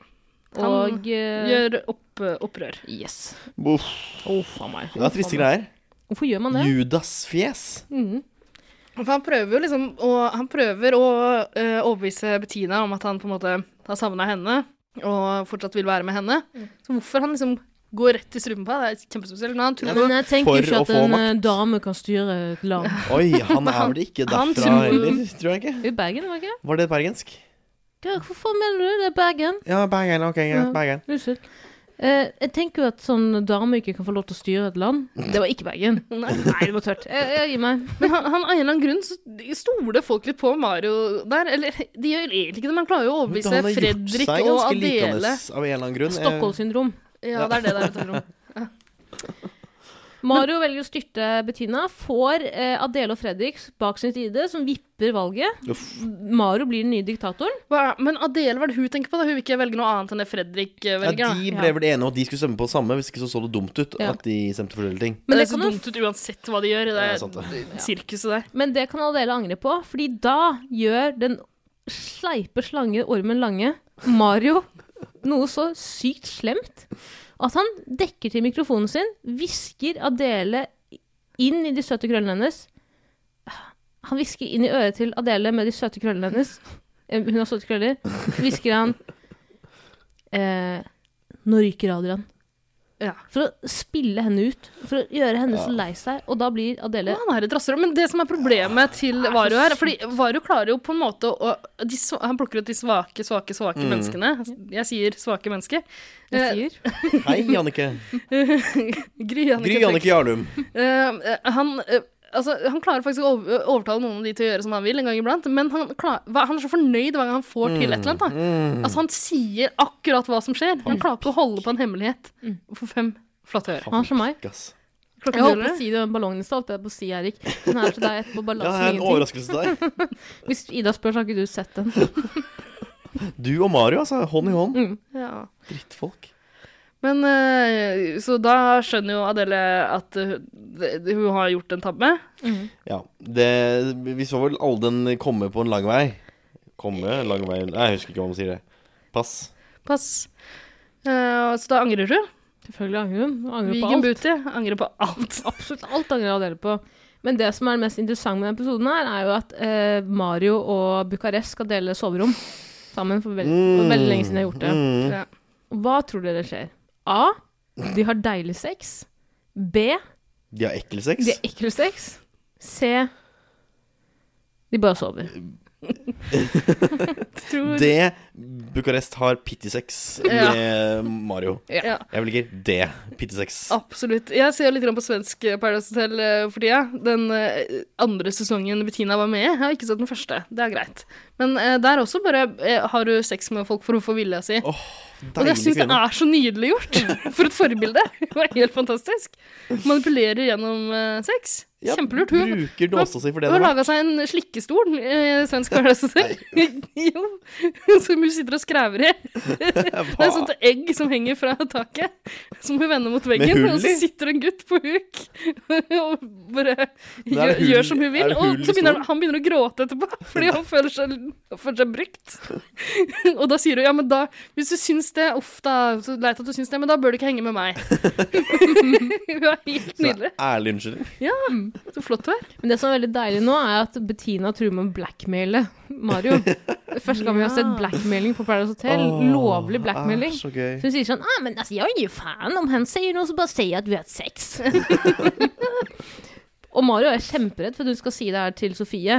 [SPEAKER 4] Han
[SPEAKER 5] Og eh,
[SPEAKER 4] Gjør opp, opprør.
[SPEAKER 5] Yes.
[SPEAKER 3] Uff,
[SPEAKER 5] Uff a meg.
[SPEAKER 3] det er triste greier.
[SPEAKER 5] Hvorfor gjør man det?
[SPEAKER 3] Judas-fjes.
[SPEAKER 4] For han prøver jo liksom å, han prøver å eh, overbevise Bettina om at han på en måte har savna henne og fortsatt vil være med henne.
[SPEAKER 3] Mm.
[SPEAKER 4] Så hvorfor han liksom går rett i strupen på henne, det er kjempespesielt. Men han tror
[SPEAKER 5] Ja, men jeg tenker
[SPEAKER 3] For
[SPEAKER 5] ikke
[SPEAKER 3] å
[SPEAKER 5] at
[SPEAKER 3] få
[SPEAKER 5] en
[SPEAKER 3] makt.
[SPEAKER 5] eh, dame kan styre et land.
[SPEAKER 3] Oi, han er vel ikke
[SPEAKER 4] han
[SPEAKER 3] derfra
[SPEAKER 4] tror-
[SPEAKER 3] heller, tror jeg ikke.
[SPEAKER 5] I Bergen, var det ikke?
[SPEAKER 3] Var det bergensk?
[SPEAKER 5] Hva hvorfor mener du det? er Bergen?
[SPEAKER 3] Ja, Bergen. Ok, ja,
[SPEAKER 5] Ja.
[SPEAKER 3] Bergen.
[SPEAKER 5] Unnskyld. Eh, jeg tenker jo at sånn dame ikke kan få lov til å styre et land. Det var ikke Bergen.
[SPEAKER 4] Nei.
[SPEAKER 5] Nei, det var tørt. Jeg, jeg gir meg.
[SPEAKER 4] Men han, han, av en eller annen grunn så stoler folk litt på Mario der. Eller de gjør egentlig ikke det, men han klarer jo å
[SPEAKER 3] Men
[SPEAKER 4] overbevise
[SPEAKER 3] han har gjort
[SPEAKER 4] Fredrik
[SPEAKER 3] seg
[SPEAKER 4] og
[SPEAKER 3] ganske
[SPEAKER 4] Adele.
[SPEAKER 3] Eh, likandes Av en eller annen grunn.
[SPEAKER 5] Stockholm-syndrom.
[SPEAKER 4] Ja, det er det det er.
[SPEAKER 5] Mario velger å styrte Bettina, får eh, Adele og Fredrik bak sin side, som vipper valget.
[SPEAKER 3] Uff.
[SPEAKER 5] Mario blir den nye diktatoren.
[SPEAKER 4] Hva er- Men Adele, hva er det hun tenker på? da? Hun vil ikke velge noe annet enn det Fredrik eh,
[SPEAKER 3] Ja,
[SPEAKER 4] velger. da.
[SPEAKER 3] de ble vel enige om at de skulle stemme på samme, hvis ikke så så det dumt ut
[SPEAKER 5] Ja.
[SPEAKER 3] at de stemte for forskjellige ting. Eh, sånn
[SPEAKER 4] Men det
[SPEAKER 5] Men det
[SPEAKER 4] ser
[SPEAKER 5] kan jo
[SPEAKER 4] dumt ut uansett hva de gjør i det
[SPEAKER 3] Altså, Ja, sant det.
[SPEAKER 4] sirkuset der.
[SPEAKER 5] Men det kan Adele angre på, fordi da gjør den sleipe slange Ormen Lange, Mario, noe så sykt slemt at han dekker til mikrofonen sin, hvisker Adele inn i de søte krøllene hennes. Han hvisker inn i øret til Adele med de søte krøllene hennes. Eh, Hun har søte krøller. Hvisker han eh, Nå ryker Adrian.
[SPEAKER 4] Ja.
[SPEAKER 5] For å spille henne ut. For å gjøre henne så lei seg. Og da blir Adele
[SPEAKER 4] Han er et rasshøl. Men det som er problemet til Varu her Fordi Varu klarer jo på en måte å de, sva- Han plukker ut de svake, svake, svake menneskene. Jeg sier svake mennesker.
[SPEAKER 5] Jeg sier
[SPEAKER 3] Hei, Jannicke.
[SPEAKER 4] Gry
[SPEAKER 3] Gry
[SPEAKER 4] Jannicke.
[SPEAKER 3] Jannicke Jarlum.
[SPEAKER 4] Eh, han, eh, altså, han klarer faktisk å over- eh, overtale noen av de til å gjøre som han vil, en gang iblant. Men han, klar, hva- han er så fornøyd hver gang han får til et eller annet. Da. Altså, han sier akkurat hva som skjer. Han klarer ikke å holde på en hemmelighet for fem flate øre.
[SPEAKER 5] Han er som meg.
[SPEAKER 3] Gass.
[SPEAKER 4] Klokken
[SPEAKER 5] Jeg holdt på
[SPEAKER 4] ruller.
[SPEAKER 5] å si det med ballongen i stad. holdt Jeg på å si, Erik. Den er til deg etterpå. Bare
[SPEAKER 3] Ja, jeg
[SPEAKER 5] lat som
[SPEAKER 3] har en
[SPEAKER 5] ingenting.
[SPEAKER 3] overraskelse til deg.
[SPEAKER 5] Hvis Ida spør, så har ikke du sett den.
[SPEAKER 3] Du og Mario, altså. Hånd i
[SPEAKER 4] Mm.
[SPEAKER 3] hånd.
[SPEAKER 4] Ja.
[SPEAKER 3] Drittfolk.
[SPEAKER 4] Men eh, Så da skjønner jo Adele at eh, det- hun har gjort en tabbe.
[SPEAKER 3] Ja. Det, vi så vel alle den komme på en lang vei. Komme en lang vei Nei, jeg husker ikke hva man sier det. Pass.
[SPEAKER 4] Pass. Eh, så da angrer hun.
[SPEAKER 5] Selvfølgelig angrer hun. Hun Angrer på
[SPEAKER 4] Vigen
[SPEAKER 5] alt.
[SPEAKER 4] Booty angrer på alt.
[SPEAKER 5] Absolutt alt angrer Adele på. Men det som er det mest interessante med denne episoden, her, er jo at eh, Mario og Bucarest skal dele soverom sammen for veld for veldig lenge siden de har gjort det.
[SPEAKER 3] Mm.
[SPEAKER 4] Ja.
[SPEAKER 5] Hva tror dere skjer? A. De har deilig sex. B.
[SPEAKER 3] De har ekkel sex.
[SPEAKER 5] De har ekkel sex. C. De bare sover.
[SPEAKER 4] Tror
[SPEAKER 3] Det Bucarest har pitty sex med Mario.
[SPEAKER 4] Ja.
[SPEAKER 3] Jeg velger det. Pitty sex.
[SPEAKER 4] Absolutt. Jeg ser litt grann på svensk eh, Paradise Hotel eh, for tida. Den eh, andre sesongen Bettina var med i. Jeg har ikke sett den første. Det er greit. Men eh, der også bare eh, har du sex med folk for å få vilja si.
[SPEAKER 3] Åh,
[SPEAKER 4] Og jeg
[SPEAKER 3] deilig
[SPEAKER 4] syns det
[SPEAKER 3] kvinne.
[SPEAKER 4] er så nydelig gjort! For et forbilde! Det var helt fantastisk. Manipulerer gjennom eh, sex.
[SPEAKER 3] Ja,
[SPEAKER 4] Kjempelurt. Hun
[SPEAKER 3] Bruker nåsa si for det
[SPEAKER 4] hun har
[SPEAKER 3] det er.
[SPEAKER 4] laga seg en slikkestol i svensk Paradise Hotel. jo. Som hun sitter og skræver i. Det er et
[SPEAKER 3] Hva?
[SPEAKER 4] sånt egg som henger fra taket, som hun vender mot
[SPEAKER 3] Med
[SPEAKER 4] veggen.
[SPEAKER 3] hull
[SPEAKER 4] Og så
[SPEAKER 3] i?
[SPEAKER 4] sitter en gutt på huk og bare gjør,
[SPEAKER 3] hull-
[SPEAKER 4] gjør som hun
[SPEAKER 3] er
[SPEAKER 4] vil.
[SPEAKER 3] det hull i
[SPEAKER 4] Og så begynner
[SPEAKER 3] stolen?
[SPEAKER 4] han, han begynner å gråte etterpå, fordi han føler seg, han føler seg brukt. og da sier hun ja, men da Hvis du syns det, uff da, så leit at du syns det, men da bør du ikke henge med meg. hun er helt nydelig.
[SPEAKER 3] Ærlig unnskyldning.
[SPEAKER 4] Så flott hun er.
[SPEAKER 5] Men det som er veldig deilig nå, er at Bettina truer med å blackmaile Mario. Det er Første gang vi har sett blackmailing på Paradise Hotel. lovlig blackmailing.
[SPEAKER 3] Ah,
[SPEAKER 5] Så
[SPEAKER 3] så gøy.
[SPEAKER 5] hun sier sånn ah, men altså, 'Jeg gir faen om han sier noe, så bare sier jeg at vi har hatt sex'. og Mario er kjemperedd for at hun skal si det her til Sofie.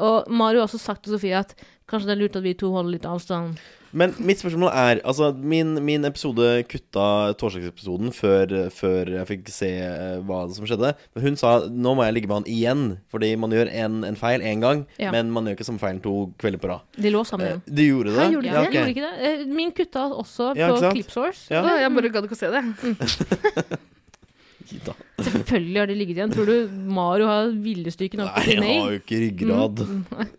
[SPEAKER 5] Og Mario har også sagt til Sofie at kanskje det er lurt at vi to holder litt avstand.
[SPEAKER 3] Men mitt spørsmål er Altså, min, min episode kutta torsdagsepisoden før, før jeg fikk se eh, hva som skjedde. Men hun sa nå må jeg ligge med han igjen, fordi man gjør en, en feil én gang,
[SPEAKER 5] Ja.
[SPEAKER 3] men man gjør ikke samme feilen to kvelder på rad.
[SPEAKER 5] De lå sammen
[SPEAKER 3] Eh,
[SPEAKER 5] igjen.
[SPEAKER 3] De gjorde det?
[SPEAKER 4] Hæ, gjorde de
[SPEAKER 5] Ja,
[SPEAKER 4] det?
[SPEAKER 3] ok.
[SPEAKER 5] Gjorde ikke det? Eh, Min kutta også
[SPEAKER 3] Ja, ikke
[SPEAKER 5] på
[SPEAKER 3] sant?
[SPEAKER 5] Clipsource.
[SPEAKER 3] Ja.
[SPEAKER 4] Å, Jeg bare gadd ikke å se det.
[SPEAKER 3] Gitt da.
[SPEAKER 5] Selvfølgelig har de ligget igjen. Tror du Mario har viljestyrken opp
[SPEAKER 3] Nei,
[SPEAKER 5] til
[SPEAKER 3] jeg
[SPEAKER 5] nei?
[SPEAKER 3] har jo ikke ryggrad.
[SPEAKER 4] Mm,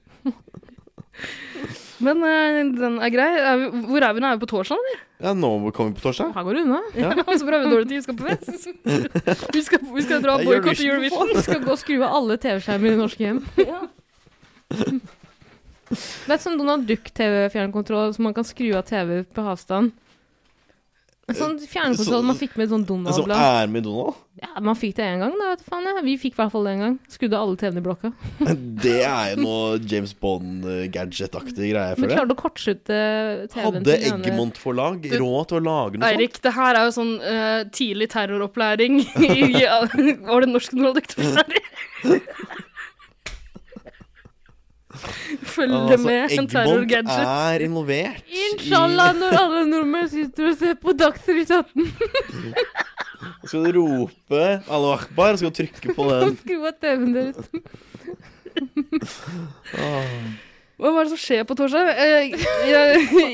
[SPEAKER 4] Men eh, den er grei. Er vi, hvor er vi nå? Er vi på torsdag, eller?
[SPEAKER 3] Ja, nå kommer vi på torsdag.
[SPEAKER 5] Her går det unna.
[SPEAKER 4] Så bra vi har dårlig tid, vi skal på fest. Vi skal, vi skal dra
[SPEAKER 3] Det er
[SPEAKER 4] boikott til Eurovision.
[SPEAKER 5] Vi skal gå og skru av alle TV-skjermer i norske hjem. Det er sånn Donald Duck-TV-fjernkontroll som man kan skru av TV på avstand. En sånn fjernkontroll
[SPEAKER 3] Eh, Så-
[SPEAKER 5] man fikk med et sånn
[SPEAKER 3] Det som
[SPEAKER 5] Donald-blad.
[SPEAKER 3] Altså, er med Donald,
[SPEAKER 5] Ja, man fikk det én gang, da. vet du faen jeg. Vi fikk i hvert fall det en gang. Skrudde av alle TV-ene i blokka.
[SPEAKER 3] det er jo noe James Bond-gadget-aktig greie,
[SPEAKER 5] Vi
[SPEAKER 3] føler jeg.
[SPEAKER 5] klarte å kortslutte eh, TV-en.
[SPEAKER 3] Hadde
[SPEAKER 5] til den ene-
[SPEAKER 3] Eggemont-forlag råd til å lage noe sånt?
[SPEAKER 4] Eirik, det her er jo sånn eh, tidlig terroropplæring i ja, Var det norsk nådektorslærer? Følge
[SPEAKER 3] Altså,
[SPEAKER 4] med en
[SPEAKER 3] Eggemont
[SPEAKER 4] terrorgadget.
[SPEAKER 3] er involvert
[SPEAKER 5] Inshallah, når alle nordmenn sitter og ser på Dagsnytt 18,
[SPEAKER 3] i Skal du rope Allahu akbar, skal du trykke på den
[SPEAKER 5] skru av TV-en deres.
[SPEAKER 4] Hva er det som skjer på torsdag? Eh, Jeg,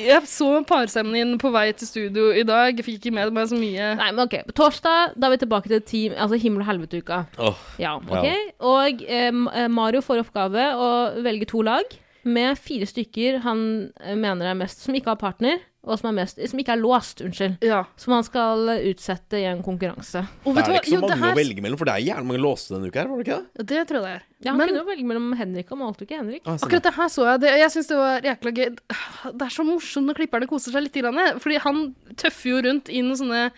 [SPEAKER 4] jeg så parsemnen din på vei til studio i dag. Jeg fikk ikke med meg så mye.
[SPEAKER 5] Nei, men ok. På torsdag da er vi tilbake til team, altså himmel- og helveteuka.
[SPEAKER 3] Åh,
[SPEAKER 5] Ja, ok. Og eh, Ma- eh, Mario får oppgave å velge to lag med fire stykker han eh, mener er mest som ikke har partner, og som, er mest, som ikke er låst, unnskyld.
[SPEAKER 4] Ja.
[SPEAKER 5] Som han skal eh, utsette i en konkurranse.
[SPEAKER 4] Og
[SPEAKER 3] det
[SPEAKER 4] vet
[SPEAKER 3] er
[SPEAKER 4] du hva?
[SPEAKER 3] ikke så
[SPEAKER 4] Jo, det
[SPEAKER 3] mange å
[SPEAKER 4] her
[SPEAKER 3] velge mellom, for det er jævlig mange låste denne uka her, var det ikke det?
[SPEAKER 4] Ja, Det tror jeg det er.
[SPEAKER 5] Ja, han
[SPEAKER 4] Men-
[SPEAKER 5] kunne jo velge mellom Henrik og valgte ikke Henrik.
[SPEAKER 3] Ah, sånn.
[SPEAKER 4] Akkurat det her så jeg. Det, jeg syns det var jækla gøy. Det er så morsomt når klipperne koser seg litt. Grann, fordi han tøffer jo rundt i noen sånne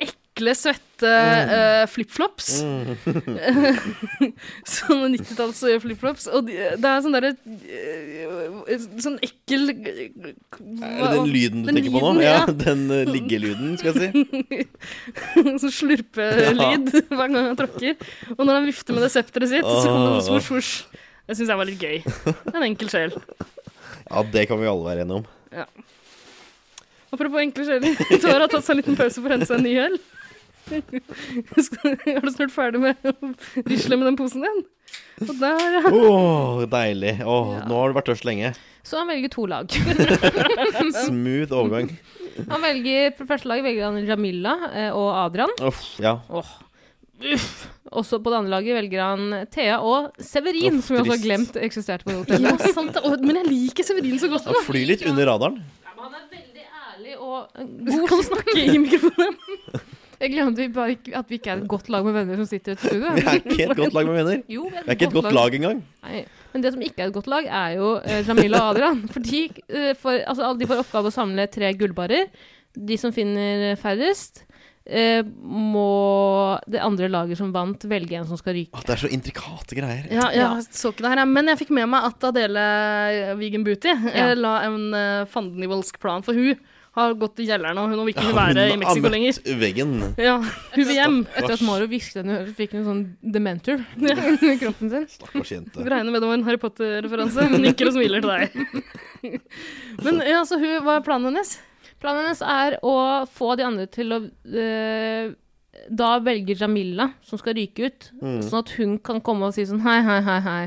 [SPEAKER 4] ekle, svette
[SPEAKER 3] Mm.
[SPEAKER 4] eh, flipflops. sånne 90-talls flipflops. Og de, det er sånn derre eh, Sånn ekkel
[SPEAKER 3] Er det den lyden du
[SPEAKER 4] Den
[SPEAKER 3] tenker på nå?
[SPEAKER 4] lyden,
[SPEAKER 3] Ja,
[SPEAKER 4] ja.
[SPEAKER 3] Den eh, liggelyden, skal jeg si.
[SPEAKER 4] Sånn slurpelyd hver gang han tråkker. Og når han vifter med det septeret sitt, så kommer det svosj, svosj. Det syns jeg var litt gøy. En enkel sjel.
[SPEAKER 3] Ja, det kan vi alle være enige om.
[SPEAKER 4] Apropos enkle sjeler. Tara har tatt seg en liten pause for å hente seg en ny øl. Skal- Har du snart ferdig med å risle med den posen din? Og der, ja.
[SPEAKER 3] Åh, deilig. Åh,
[SPEAKER 4] Ja.
[SPEAKER 3] Nå har du vært tørst lenge.
[SPEAKER 5] Så han velger to lag.
[SPEAKER 4] Mm.
[SPEAKER 3] Smooth overgang.
[SPEAKER 5] Han velger, på det første laget velger han Jamila eh, og Adrian.
[SPEAKER 3] Uff, ja.
[SPEAKER 5] Åh. Uff. Også på det andre laget velger han Thea og Severin,
[SPEAKER 3] Uff,
[SPEAKER 5] som vi også har
[SPEAKER 3] trist.
[SPEAKER 5] glemt eksisterte på hotellet.
[SPEAKER 4] ja sant, det. Å, men jeg liker Severin så godt.
[SPEAKER 3] Ja, Fly litt under radaren.
[SPEAKER 5] Han er veldig ærlig og eh,
[SPEAKER 4] Du kan snakke i mikrofonen.
[SPEAKER 5] Jeg glemte vi bare ikke, at vi ikke er et godt lag med venner som sitter i et studio.
[SPEAKER 3] Vi er ikke et godt lag med venner.
[SPEAKER 5] Jo, vi
[SPEAKER 3] Vi er ikke et godt lag engang.
[SPEAKER 5] Nei. Men det som ikke er et godt lag, er jo eh, Jamila og Adrian. For de, eh, får- altså, alle de får oppgave å samle tre gullbarer. De som finner færrest, eh, må det andre laget som vant, velge en som skal ryke.
[SPEAKER 3] Åh, det er så intrikate greier.
[SPEAKER 4] Ja, jeg så ikke det her, jeg. men jeg fikk med meg at Adele Wigen Booty eh, la en eh, fandenivoldsk plan, for hun har gått i kjelleren, og hun vil ikke være i
[SPEAKER 3] har
[SPEAKER 4] Mexico lenger.
[SPEAKER 3] møtt veggen.
[SPEAKER 4] Ja, hun vil hjem.
[SPEAKER 5] Etter at Mario hvisket henne i øret, fikk hun sånn dementor i kroppen sin.
[SPEAKER 3] Stakkars jente.
[SPEAKER 4] Regner med det var en Harry Potter-referanse. Hun nikker og smiler til deg. Men ja, så hun, hva er planen hennes?
[SPEAKER 5] Planen hennes er å få de andre til å eh, Da velger Jamila, som skal ryke ut, sånn at hun kan komme og si sånn hei, hei, hei, hei.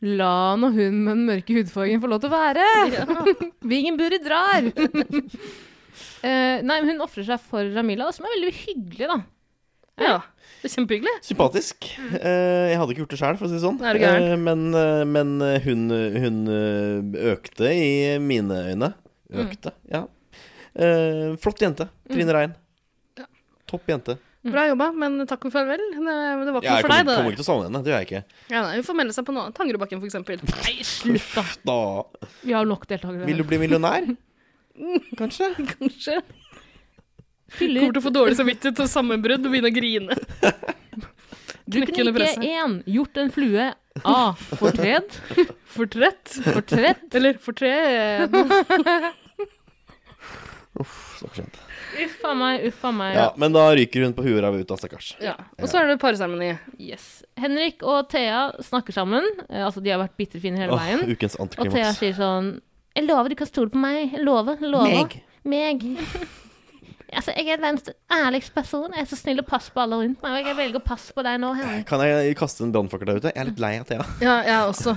[SPEAKER 5] La nå hun med den mørke hudfargen få lov til å være! Vingenburi drar! Eh, nei, men hun ofrer seg for Jamila, som er veldig hyggelig, da.
[SPEAKER 4] Ja, det er kjempehyggelig.
[SPEAKER 3] Sympatisk. Eh, jeg hadde ikke gjort det sjøl, for å si det sånn.
[SPEAKER 4] Er du gæren?
[SPEAKER 3] Eh, men eh, men eh, hun, hun eh, økte i mine øyne.
[SPEAKER 4] Mm.
[SPEAKER 3] Økte, ja. Eh, flott jente. Trine Rein.
[SPEAKER 4] Ja.
[SPEAKER 3] Topp jente.
[SPEAKER 4] Bra jobba, men takk og farvel. Det, det var
[SPEAKER 3] Jeg
[SPEAKER 4] ikke noe for
[SPEAKER 3] kommer,
[SPEAKER 4] deg, det
[SPEAKER 3] kommer
[SPEAKER 4] der.
[SPEAKER 3] ikke til å savne henne. Det gjør jeg ikke.
[SPEAKER 4] Ja, nei, hun får melde seg på noe annet. Tangerudbakken, for eksempel.
[SPEAKER 5] Nei, slutt, da!
[SPEAKER 3] Da
[SPEAKER 5] Vi har nok deltakere.
[SPEAKER 3] Vil du bli millionær? Kanskje?
[SPEAKER 4] Kanskje.
[SPEAKER 5] Fyller-
[SPEAKER 4] Kommer til å få dårlig samvittighet og sammenbrudd og begynne å grine.
[SPEAKER 5] Du
[SPEAKER 4] knekke under
[SPEAKER 5] kunne ikke
[SPEAKER 4] presset.
[SPEAKER 5] én gjort en flue A. Fortred.
[SPEAKER 4] Fortrett?
[SPEAKER 5] Fortred.
[SPEAKER 4] Eller fortred?
[SPEAKER 3] Stakkars jente.
[SPEAKER 5] Uff a meg, uff a meg.
[SPEAKER 3] Ja, men da ryker hun på huet av ut, da, stakkars.
[SPEAKER 4] Ja. Og så er det parseremoni.
[SPEAKER 5] Yes. Henrik og Thea snakker sammen. Eh, altså, de har vært bitre fine hele
[SPEAKER 3] Åh,
[SPEAKER 5] veien.
[SPEAKER 3] ukens
[SPEAKER 5] Og Thea
[SPEAKER 3] antiklimaks.
[SPEAKER 5] sier sånn Jeg lover du kan stole på meg. Jeg lover. jeg lover. Meg. altså, jeg er verdens ærligste person. Jeg er så snill og passer på alle rundt meg. Og jeg velger å passe på deg nå, Henrik.
[SPEAKER 3] Kan jeg kaste en brannfakkel der ute? Jeg er litt lei av Thea.
[SPEAKER 4] Ja, jeg også.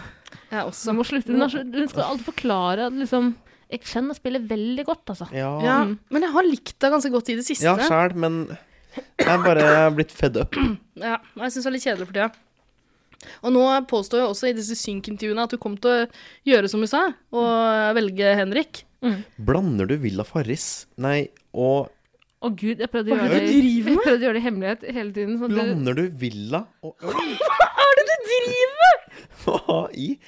[SPEAKER 4] Jeg også.
[SPEAKER 5] Må slutte. Hun, har så- hun skal alltid forklare at liksom Jeg skjønner spillet veldig godt, altså.
[SPEAKER 3] Ja,
[SPEAKER 4] Ja, men jeg har likt deg ganske godt i det siste.
[SPEAKER 3] ja sjæl, men jeg er bare jeg er blitt fed up.
[SPEAKER 4] Ja, og jeg syns det er litt kjedelig for tida. Og nå påstår jeg også i disse synkintervjuene at du kom til å gjøre som hun sa, og velge Henrik.
[SPEAKER 3] Blander du Villa Farris Nei, og
[SPEAKER 5] Å gud, jeg prøvde å
[SPEAKER 4] Hva
[SPEAKER 5] gjøre
[SPEAKER 4] er det
[SPEAKER 5] det,
[SPEAKER 4] du driver
[SPEAKER 5] jeg prøvde å gjøre det i hemmelighet hele tiden. Sånn at det,
[SPEAKER 3] blander du Villa og øl? Hva i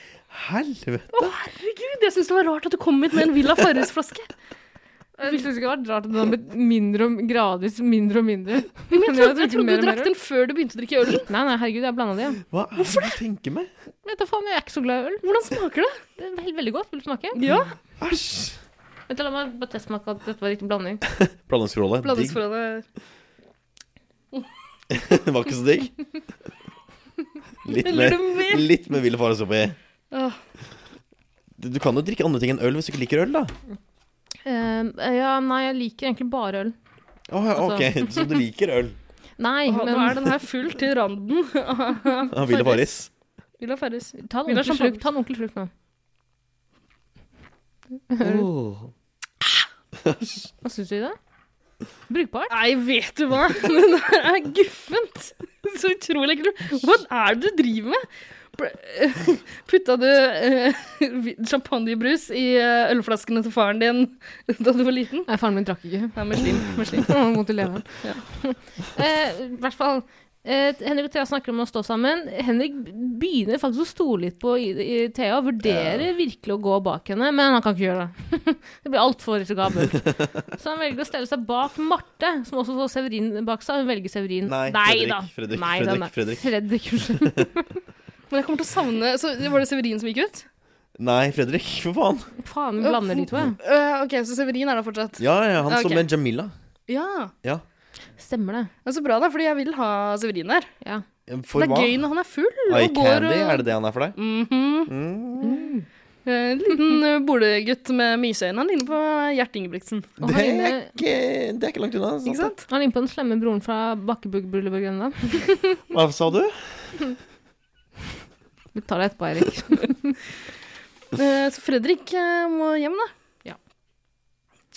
[SPEAKER 3] helvete?
[SPEAKER 4] Herregud, jeg syns det var rart at du kom hit med en Villa Farris-flaske.
[SPEAKER 5] jeg syns ikke det hadde vært rart om det hadde blitt mindre og gradvis mindre og mindre.
[SPEAKER 4] Men jeg trodde, jeg
[SPEAKER 5] Jeg drikker
[SPEAKER 4] trodde
[SPEAKER 5] mer
[SPEAKER 4] du
[SPEAKER 5] og mer
[SPEAKER 4] drakk den før du begynte å drikke ølen.
[SPEAKER 5] Nei, nei, herregud, jeg blanda det. Ja.
[SPEAKER 3] Hva er det du tenker med?
[SPEAKER 5] Vet da faen, jeg er ikke så glad i øl.
[SPEAKER 4] Hvordan smaker det?
[SPEAKER 5] Det er veldig, veldig godt. Vil du smake?
[SPEAKER 4] Ja,
[SPEAKER 3] Æsj!
[SPEAKER 5] Vet du, La meg bare testsmake at dette var riktig blanding.
[SPEAKER 3] Blandingsforholdet.
[SPEAKER 4] blandes
[SPEAKER 3] Digg.
[SPEAKER 4] foran deg.
[SPEAKER 3] Var ikke så digg? Litt
[SPEAKER 4] Eller
[SPEAKER 3] med,
[SPEAKER 4] du mer?
[SPEAKER 3] litt med Villa Farris oppi.
[SPEAKER 4] Åh.
[SPEAKER 3] Du du kan jo drikke andre ting enn øl hvis du ikke liker øl, da.
[SPEAKER 5] Eh, ja, nei, jeg liker egentlig bare øl.
[SPEAKER 3] Åh, ja,
[SPEAKER 4] Altså-
[SPEAKER 3] ok, Så du liker øl?
[SPEAKER 5] Nei,
[SPEAKER 4] Åh, Nå er
[SPEAKER 5] men
[SPEAKER 4] den her full til randen.
[SPEAKER 3] Ja, Villa Farris.
[SPEAKER 4] Villa Farris.
[SPEAKER 5] ta en
[SPEAKER 4] Vil du ha
[SPEAKER 5] ordentlig slurk, ta en ordentlig slurk nå.
[SPEAKER 3] Oh.
[SPEAKER 5] Hva syns du i det? Brukbart?
[SPEAKER 4] Nei, vet du hva? Det er guffent. Så utrolig ekkelt. Hva er det du driver med? Ble- Putta du eh, vi- champagnebrus i eh, ølflaskene til faren din da du var liten?
[SPEAKER 5] Nei, faren min drakk ikke.
[SPEAKER 4] Nei, med slim. Med slim.
[SPEAKER 5] Han var Vondt i leveren. Eh, I hvert fall. Eh, Henrik og Thea snakker om å stå sammen. Henrik begynner faktisk å stole litt på i, i Thea og vurderer virkelig å gå bak henne, men han kan ikke gjøre det. det blir altfor risikabelt. Så han velger å stelle seg bak Marte, som også får Severin bak seg. Hun velger Severin.
[SPEAKER 3] Nei, Fredrik,
[SPEAKER 5] da.
[SPEAKER 3] Fredrik,
[SPEAKER 5] Nei,
[SPEAKER 3] Fredrik,
[SPEAKER 5] den er-
[SPEAKER 3] Fredrik.
[SPEAKER 5] Fredrik, unnskyld.
[SPEAKER 4] Men jeg kommer til å savne Så Var det Severin som gikk ut?
[SPEAKER 3] Nei, Fredrik, for faen.
[SPEAKER 5] Faen, vi blander de to, ja.
[SPEAKER 4] Eh, OK, så Severin er der fortsatt.
[SPEAKER 3] Ja, ja, han som
[SPEAKER 4] Ok.
[SPEAKER 3] med Jamila.
[SPEAKER 4] Ja.
[SPEAKER 3] Ja.
[SPEAKER 5] Stemmer det.
[SPEAKER 4] Men så bra, da, fordi jeg vil ha Severin der.
[SPEAKER 5] Ja.
[SPEAKER 3] For
[SPEAKER 4] det er
[SPEAKER 3] hva?
[SPEAKER 4] gøy når han er full
[SPEAKER 3] Eye
[SPEAKER 4] og går
[SPEAKER 3] candy,
[SPEAKER 4] og Mm,
[SPEAKER 3] er det det han er for deg?
[SPEAKER 4] En liten eh, bolegutt med myseøyne. Han ligner på Gjert Ingebrigtsen.
[SPEAKER 5] Og
[SPEAKER 3] Det
[SPEAKER 5] han
[SPEAKER 3] er
[SPEAKER 5] inne,
[SPEAKER 3] ikke, det er ikke langt unna. altså. sant
[SPEAKER 4] Ikke sant?
[SPEAKER 5] han er inne på den slemme broren fra Bakkebryllup i Grønland.
[SPEAKER 3] det? Hva sa du?
[SPEAKER 5] Vi tar det etterpå, Eirik.
[SPEAKER 4] Eh, Så Fredrik eh, må hjem, da.
[SPEAKER 5] Ja.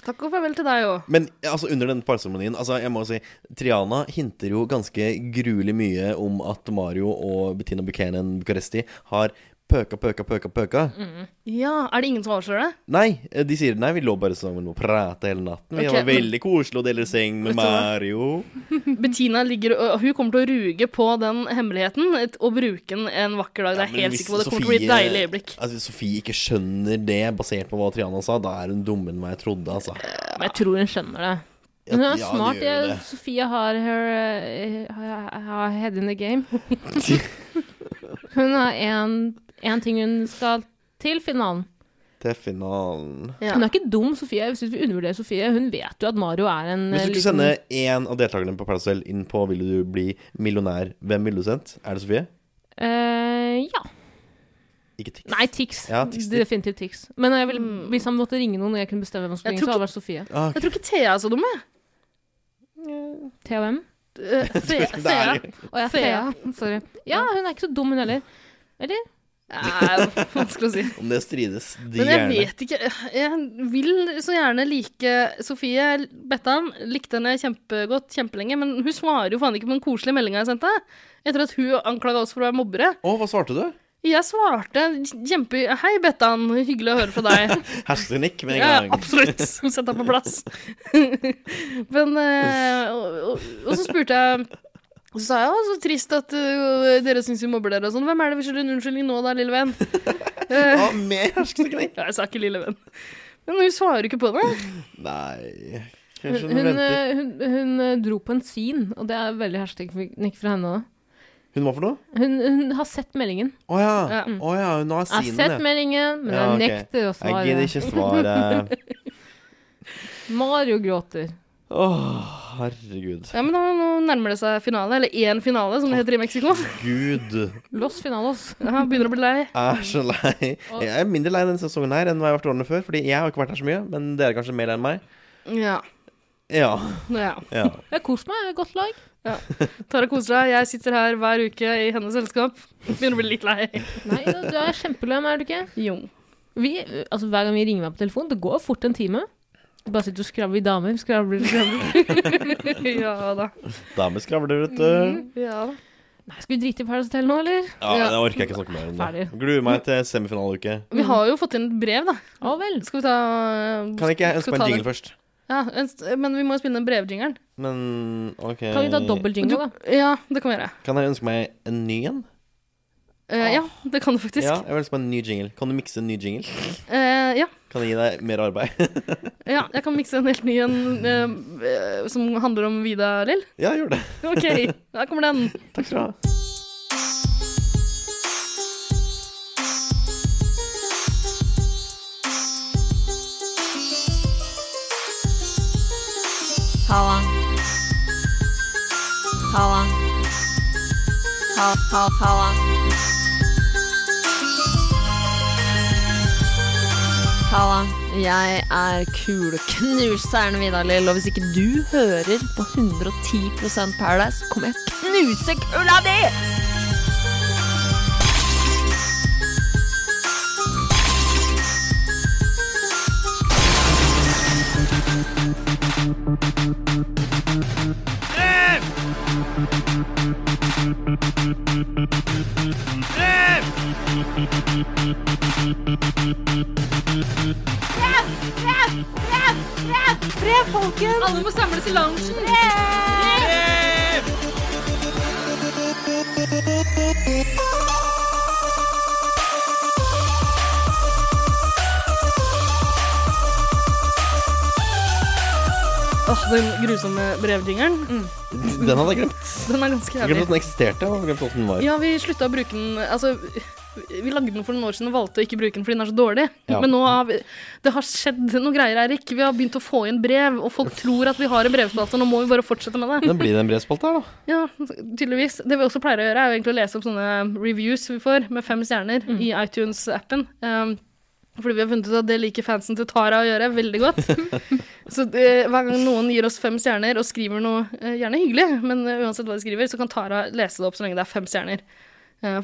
[SPEAKER 4] Takk og farvel til deg òg.
[SPEAKER 3] Men ja, altså, under den parseremonien altså, jeg må jo si, Triana hinter jo ganske gruelig mye om at Mario og Bettina Buchanan Bucuresti har pøka, pøka, pøka, pøka.
[SPEAKER 4] Mm. Ja, er det ingen som avslører det?
[SPEAKER 3] Nei, eh, de sier nei, vi lå bare sammen og prata hele natten. Vi
[SPEAKER 4] Ok,
[SPEAKER 3] var
[SPEAKER 4] men-
[SPEAKER 3] veldig koselige og deler seng med
[SPEAKER 4] Vet du hva?
[SPEAKER 3] Mario.
[SPEAKER 4] Bettina ligger, og hun kommer til å ruge på den hemmeligheten et- og bruke den en vakker dag. Det
[SPEAKER 3] Ja, men
[SPEAKER 4] er jeg helt
[SPEAKER 3] hvis
[SPEAKER 4] sikker på. Det kommer til å bli et
[SPEAKER 3] Sofie-
[SPEAKER 4] deilig øyeblikk.
[SPEAKER 3] Altså, hvis Sofie ikke skjønner det, basert på hva Triana sa, da er hun dummere enn hva jeg trodde, altså.
[SPEAKER 5] Men jeg tror hun skjønner det.
[SPEAKER 3] Ja,
[SPEAKER 5] Hun er
[SPEAKER 3] ja, det
[SPEAKER 5] smart.
[SPEAKER 3] gjør jo
[SPEAKER 5] Jeg,
[SPEAKER 3] det.
[SPEAKER 5] Sofia har her eh, har- har head in the game. Hun har én ting hun skal til finalen.
[SPEAKER 3] Til finalen.
[SPEAKER 4] Ja.
[SPEAKER 5] Hun er ikke dum, Sofie. Jeg synes vi undervurderer Sofie. Hun vet jo at Mario er en
[SPEAKER 3] Hvis
[SPEAKER 5] eh,
[SPEAKER 3] du skulle sende én av deltakerne på Paradise Hotel inn på 'Vil du bli millionær', hvem ville du sendt? Er det Sofie?
[SPEAKER 5] eh, Ja.
[SPEAKER 3] Ikke Tix.
[SPEAKER 5] Nei, Tix.
[SPEAKER 3] Ja, Tix, Tix.
[SPEAKER 5] Definitivt Tix. Men jeg vil, hvis han måtte ringe noen og Mm. jeg kunne bestemme hvem som skulle
[SPEAKER 4] Jeg
[SPEAKER 5] ringe, så
[SPEAKER 4] tror
[SPEAKER 5] hadde det vært Sofie.
[SPEAKER 3] Ah,
[SPEAKER 4] Jeg tror ikke Thea er så dum, jeg.
[SPEAKER 5] THM.
[SPEAKER 4] Eh, Thea.
[SPEAKER 3] det
[SPEAKER 4] Thea.
[SPEAKER 3] er-
[SPEAKER 5] Å ja,
[SPEAKER 4] Thea.
[SPEAKER 5] Thea. Sorry. Ja, hun er ikke så dum, hun heller.
[SPEAKER 4] Nei, vanskelig å si.
[SPEAKER 3] Om det strides, de
[SPEAKER 4] Men jeg
[SPEAKER 3] gjerne.
[SPEAKER 4] vet ikke eh, Jeg vil så gjerne like Sofie Bettan. Likte henne kjempegodt kjempelenge, men hun svarer jo faen ikke på den koselige meldinga jeg sendte. Etter at hun anklaga oss for å være mobbere.
[SPEAKER 3] Å, hva svarte du?
[SPEAKER 4] Jeg svarte kjempe... Hei, Bettan. Hyggelig å høre fra deg.
[SPEAKER 3] Hersketeknikk med en
[SPEAKER 4] Ja,
[SPEAKER 3] gang.
[SPEAKER 4] absolutt. Hun setter deg på plass. Men eh, og, og, og så spurte jeg og så sa jeg «Å, så trist at eh, dere syns vi mobber dere og sånn. Hvem er det vi skylder en unnskyldning nå da, lille venn? Eh,
[SPEAKER 3] Ja, med hersketeknikk?
[SPEAKER 4] Ja, jeg sa ikke lille venn. Men hun svarer jo ikke på det.
[SPEAKER 3] Nei
[SPEAKER 5] Hun,
[SPEAKER 3] Kanskje hun,
[SPEAKER 5] hun,
[SPEAKER 3] venter.
[SPEAKER 5] eh, hun, hun eh, dro på en scene, og det er veldig hersketeknikk fra henne òg.
[SPEAKER 3] Hun hva for noe?
[SPEAKER 5] Hun, hun har sett meldingen.
[SPEAKER 3] Å ja.
[SPEAKER 4] Ja.
[SPEAKER 3] Å ja, hun har
[SPEAKER 5] Jeg har
[SPEAKER 3] sinen,
[SPEAKER 5] sett
[SPEAKER 3] ja.
[SPEAKER 5] meldingen, men
[SPEAKER 3] Ja,
[SPEAKER 5] jeg
[SPEAKER 3] ok.
[SPEAKER 5] nekter å
[SPEAKER 3] Jeg gidder
[SPEAKER 5] svare.
[SPEAKER 3] ikke svare.
[SPEAKER 5] Mario gråter.
[SPEAKER 3] Å, herregud.
[SPEAKER 4] Ja, men da, nå nærmer det seg finale, eller én finale, som det heter i Mexico.
[SPEAKER 3] Gud.
[SPEAKER 5] Los finalos.
[SPEAKER 4] Ja, han begynner å bli lei.
[SPEAKER 3] Jeg er så lei. Jeg er mindre lei denne sesongen her enn hva jeg har vært årene før. Fordi jeg har ikke vært her så mye, men dere er kanskje mer lei enn meg.
[SPEAKER 4] Ja.
[SPEAKER 3] Ja.
[SPEAKER 4] ja.
[SPEAKER 3] ja.
[SPEAKER 5] Jeg koser meg, jeg er godt lag.
[SPEAKER 4] Tara koser seg. Jeg sitter her hver uke i hennes selskap. Begynner å bli litt lei.
[SPEAKER 5] Nei, du er kjempeløm, er du ikke?
[SPEAKER 4] Jo.
[SPEAKER 5] Vi, altså, hver gang vi ringer meg på telefon, det går fort en time. Vi bare sitter og skravler vi damer. Skravler, skravler.
[SPEAKER 4] Ja da.
[SPEAKER 3] Damer skravler, vet du.
[SPEAKER 4] Ja da.
[SPEAKER 5] Nei, skal vi drite i Paradise Hotel nå, eller?
[SPEAKER 3] Ja,
[SPEAKER 4] Mm. Ja.
[SPEAKER 3] Det orker jeg ikke snakke mer om. det.
[SPEAKER 5] Ferdig.
[SPEAKER 3] Gruer meg til semifinaleuke.
[SPEAKER 4] Vi har jo fått inn et brev, da.
[SPEAKER 5] Å vel.
[SPEAKER 4] Skal vi ta
[SPEAKER 3] Kan ikke jeg ønske
[SPEAKER 4] skal vi
[SPEAKER 3] meg en
[SPEAKER 4] ta det?
[SPEAKER 3] jingle først?
[SPEAKER 4] Ja, en st- Men vi må jo spille den brevjingeren.
[SPEAKER 3] Men OK
[SPEAKER 5] Kan vi ta dobbel jingle, da?
[SPEAKER 4] Ja, det kan vi gjøre.
[SPEAKER 3] Kan jeg ønske meg en ny en?
[SPEAKER 4] Eh, ja, det kan du faktisk.
[SPEAKER 3] Ja, jeg vil ønske meg en ny jingle. Kan du mikse en ny jingle?
[SPEAKER 4] Eh, ja.
[SPEAKER 3] Kan jeg gi deg mer arbeid?
[SPEAKER 4] ja, jeg kan mikse en helt ny en eh, eh, som handler om Vida Lill.
[SPEAKER 3] ja, gjør det.
[SPEAKER 4] OK, der kommer den.
[SPEAKER 3] Takk skal du ha.
[SPEAKER 6] Halla. Halla. Halla, halla, halla. Halla. Jeg er kuleknuseren Vidar Lill, og hvis ikke du hører på 110 Paradise, kommer jeg til å knuse kula di!
[SPEAKER 4] Alle må samles i loungen! Åh, den grusomme brevjingeren.
[SPEAKER 3] Den hadde jeg glemt.
[SPEAKER 4] Den er ganske
[SPEAKER 3] Jeg glemte at
[SPEAKER 4] jævlig.
[SPEAKER 3] den eksisterte. og jeg glemte at den var.
[SPEAKER 4] Ja, vi slutta å bruke den Altså, vi lagde den for noen år siden og valgte å ikke bruke den fordi den er så dårlig.
[SPEAKER 3] Ja.
[SPEAKER 4] Men nå har vi Det har skjedd noen greier, Eirik. Vi har begynt å få inn brev, og folk tror at vi har en brevspalte. Nå må vi bare fortsette med det.
[SPEAKER 3] Den blir det en brevspalte her, da.
[SPEAKER 4] Ja, tydeligvis. Det vi også pleier å gjøre, er jo egentlig å lese opp sånne reviews vi får med fem stjerner i iTunes-appen. Um, fordi vi har funnet ut at det liker fansen til Tara å gjøre veldig godt. så det, hver gang noen gir oss fem stjerner og skriver noe eh, gjerne hyggelig, men eh, uansett hva de skriver, så kan Tara lese det opp så lenge det er fem stjerner. Eh,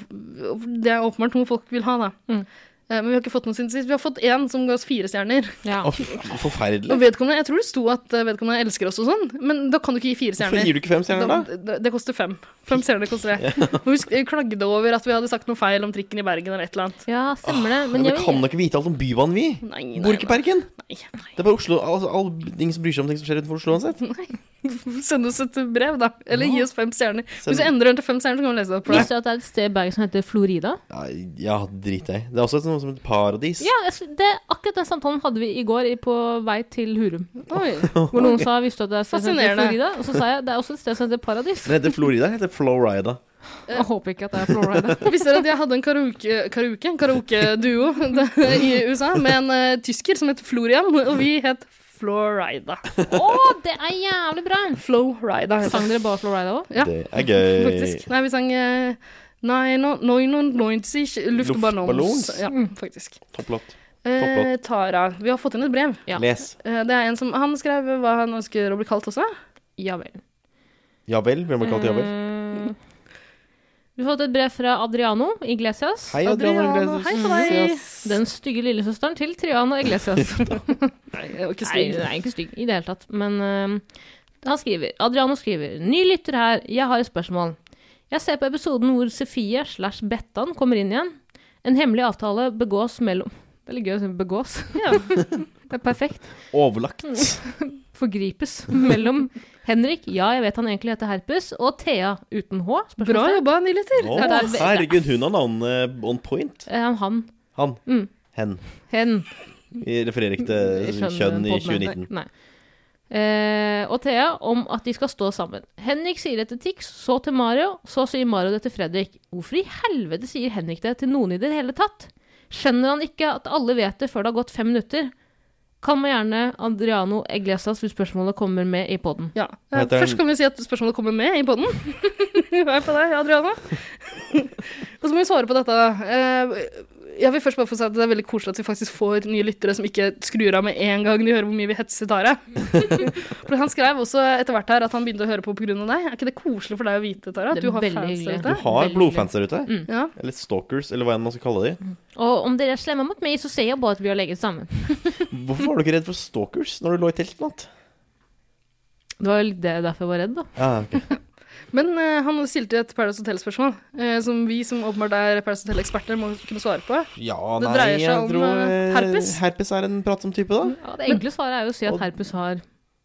[SPEAKER 4] det er åpenbart noe folk vil ha, da.
[SPEAKER 5] Mm.
[SPEAKER 4] Eh, men vi har ikke fått noe siden sist. Vi har fått én som ga oss fire stjerner.
[SPEAKER 5] Ja.
[SPEAKER 3] Å, forferdelig.
[SPEAKER 4] Og vedkommende, jeg tror det sto at eh, vedkommende elsker oss og sånn, men da kan du ikke gi fire
[SPEAKER 3] Hvorfor
[SPEAKER 4] stjerner.
[SPEAKER 3] gir du ikke fem stjerner, da?
[SPEAKER 4] Da- Det, det koster fem. Fem stjerner koster det. Og vi sk- klagde over at vi hadde sagt noe feil om trikken i Bergen eller et eller annet.
[SPEAKER 5] ja, stemmer det.
[SPEAKER 3] Ah, Men
[SPEAKER 5] Men jeg
[SPEAKER 3] vi kan
[SPEAKER 5] vil
[SPEAKER 3] da ikke vite alt om Bybanen, vi.
[SPEAKER 4] Nei, nei,
[SPEAKER 3] Bor ikke i
[SPEAKER 4] nei.
[SPEAKER 3] Bergen.
[SPEAKER 4] Nei.
[SPEAKER 3] Det er bare Oslo. Altså, alle ingen som bryr seg om ting som skjer utenfor Oslo uansett.
[SPEAKER 4] Send oss et brev, da. Eller gi oss fem stjerner. Hvis du
[SPEAKER 3] Send-
[SPEAKER 4] endrer den til fem stjerner, så kan vi lese det opp for deg.
[SPEAKER 5] Visste du at det er et sted i Bergen som heter Florida?
[SPEAKER 3] Ja, ja drit deg. Det er også et, noe som et paradis.
[SPEAKER 5] Ja, jeg sy- det, akkurat den samtalen hadde vi i går i- på vei til Hurum.
[SPEAKER 4] Oi.
[SPEAKER 5] Hvor noen sa 'visste du at det er et sted som heter
[SPEAKER 4] Fascinerende.
[SPEAKER 5] Florida?' Og så sa jeg 'det er også et sted som heter Paradis'.
[SPEAKER 3] Den heter Florida. Den heter Florida.
[SPEAKER 5] Jeg håper ikke at det er Florida.
[SPEAKER 4] Visste dere at jeg hadde en karaoke, karaoke, en karaoke-duo i USA med en eh, tysker som het Florian, og vi het Florida.
[SPEAKER 5] Å, det er jævlig bra!
[SPEAKER 4] Florida heter
[SPEAKER 5] Sang dere bare Florida òg?
[SPEAKER 4] Ja.
[SPEAKER 3] Det er gøy.
[SPEAKER 4] Faktisk. Nei, vi sang eh, Nei, no, noin und neunzig luftballons.
[SPEAKER 3] Luftballons?
[SPEAKER 4] Ja, faktisk.
[SPEAKER 3] Topplåt.
[SPEAKER 4] Eh, Tara, vi har fått inn et brev.
[SPEAKER 5] Ja.
[SPEAKER 3] Les.
[SPEAKER 4] Eh, Det er en som, Han skrev hva han ønsker å bli kalt også.
[SPEAKER 5] Ja vel.
[SPEAKER 3] Ja vel. Hvem har kalt ja vel?
[SPEAKER 5] Eh, Vi har fått et brev fra Adriano Iglesias.
[SPEAKER 3] Hei, Adriana
[SPEAKER 4] Adriana,
[SPEAKER 3] Iglesias.
[SPEAKER 4] hei på deg.
[SPEAKER 3] Mm. Yes.
[SPEAKER 5] Den stygge lillesøsteren til Triana Iglesias.
[SPEAKER 4] Nei, jeg var ikke
[SPEAKER 5] Nei,
[SPEAKER 4] stygg.
[SPEAKER 5] hun er ikke stygg i det hele tatt. Men eh, han skriver Adriano skriver Ny lytter her, jeg har et spørsmål. Jeg ser på episoden hvor Sofie slash Bettan kommer inn igjen. En hemmelig avtale begås mellom Det er litt gøy å si begås.
[SPEAKER 4] Ja.
[SPEAKER 5] Det er perfekt.
[SPEAKER 3] Overlagt.
[SPEAKER 5] Forgripes mellom Henrik, ja, jeg vet han egentlig heter herpes, og Thea uten H. spørsmålstegn.
[SPEAKER 4] Bra jobba, Niliter.
[SPEAKER 3] Å,
[SPEAKER 5] Ja, det er ve-
[SPEAKER 3] herregud, hun har navnet on point.
[SPEAKER 5] Eh, han.
[SPEAKER 3] Han.
[SPEAKER 5] Mm.
[SPEAKER 3] Hen.
[SPEAKER 5] Hen.
[SPEAKER 3] Vi refererer ikke til eh, kjønn i 2019.
[SPEAKER 5] Nei. Eh, og Thea om at de skal stå sammen. Henrik sier det til Tix, så til Mario, så sier Mario det til Fredrik. Hvorfor i helvete sier Henrik det til noen i det hele tatt? Skjønner han ikke at alle vet det før det har gått fem minutter? Kan man gjerne Adriano Eglesas hvis spørsmålet kommer med i poden.
[SPEAKER 4] Ja.
[SPEAKER 3] Hva
[SPEAKER 4] Eh,
[SPEAKER 3] heter
[SPEAKER 4] Først
[SPEAKER 3] den?
[SPEAKER 4] kan vi si at spørsmålet kommer med i poden. Hei på deg, Adriana. Og så må vi svare på dette. Eh, Jeg vil først bare få si at Det er veldig koselig at vi faktisk får nye lyttere som ikke skrur av med en gang de hører hvor mye vi hetser Tara. For Han skrev også etter hvert her at han begynte å høre på pga. deg. Er ikke det koselig for deg å vite, Tara? At
[SPEAKER 5] Det er
[SPEAKER 4] du har
[SPEAKER 5] veldig
[SPEAKER 4] fans der
[SPEAKER 5] hyggelig.
[SPEAKER 4] ute?
[SPEAKER 3] Har
[SPEAKER 5] Veldig
[SPEAKER 3] blodfans der ute?
[SPEAKER 4] Ja.
[SPEAKER 3] Eller stalkers, eller hva enn man skal kalle de.
[SPEAKER 5] Og om dere er slemme mot meg, så ser jeg bare at vi har legget sammen.
[SPEAKER 3] Hvorfor var du ikke redd for stalkers når du lå i telt i natt?
[SPEAKER 5] Det var jo litt det derfor jeg var redd, da.
[SPEAKER 3] Ah, ok.
[SPEAKER 4] Men eh, han stilte et Paradise Hotel-spørsmål, eh, som vi som åpenbart er Paradise Hotel-eksperter, må kunne svare på.
[SPEAKER 3] Ja,
[SPEAKER 4] Det
[SPEAKER 3] nei,
[SPEAKER 4] dreier seg
[SPEAKER 3] jeg
[SPEAKER 4] om,
[SPEAKER 3] tror
[SPEAKER 4] eh, herpes.
[SPEAKER 3] Herpes er en pratsom type, da.
[SPEAKER 5] Ja, det enkle svaret er jo å si at herpes har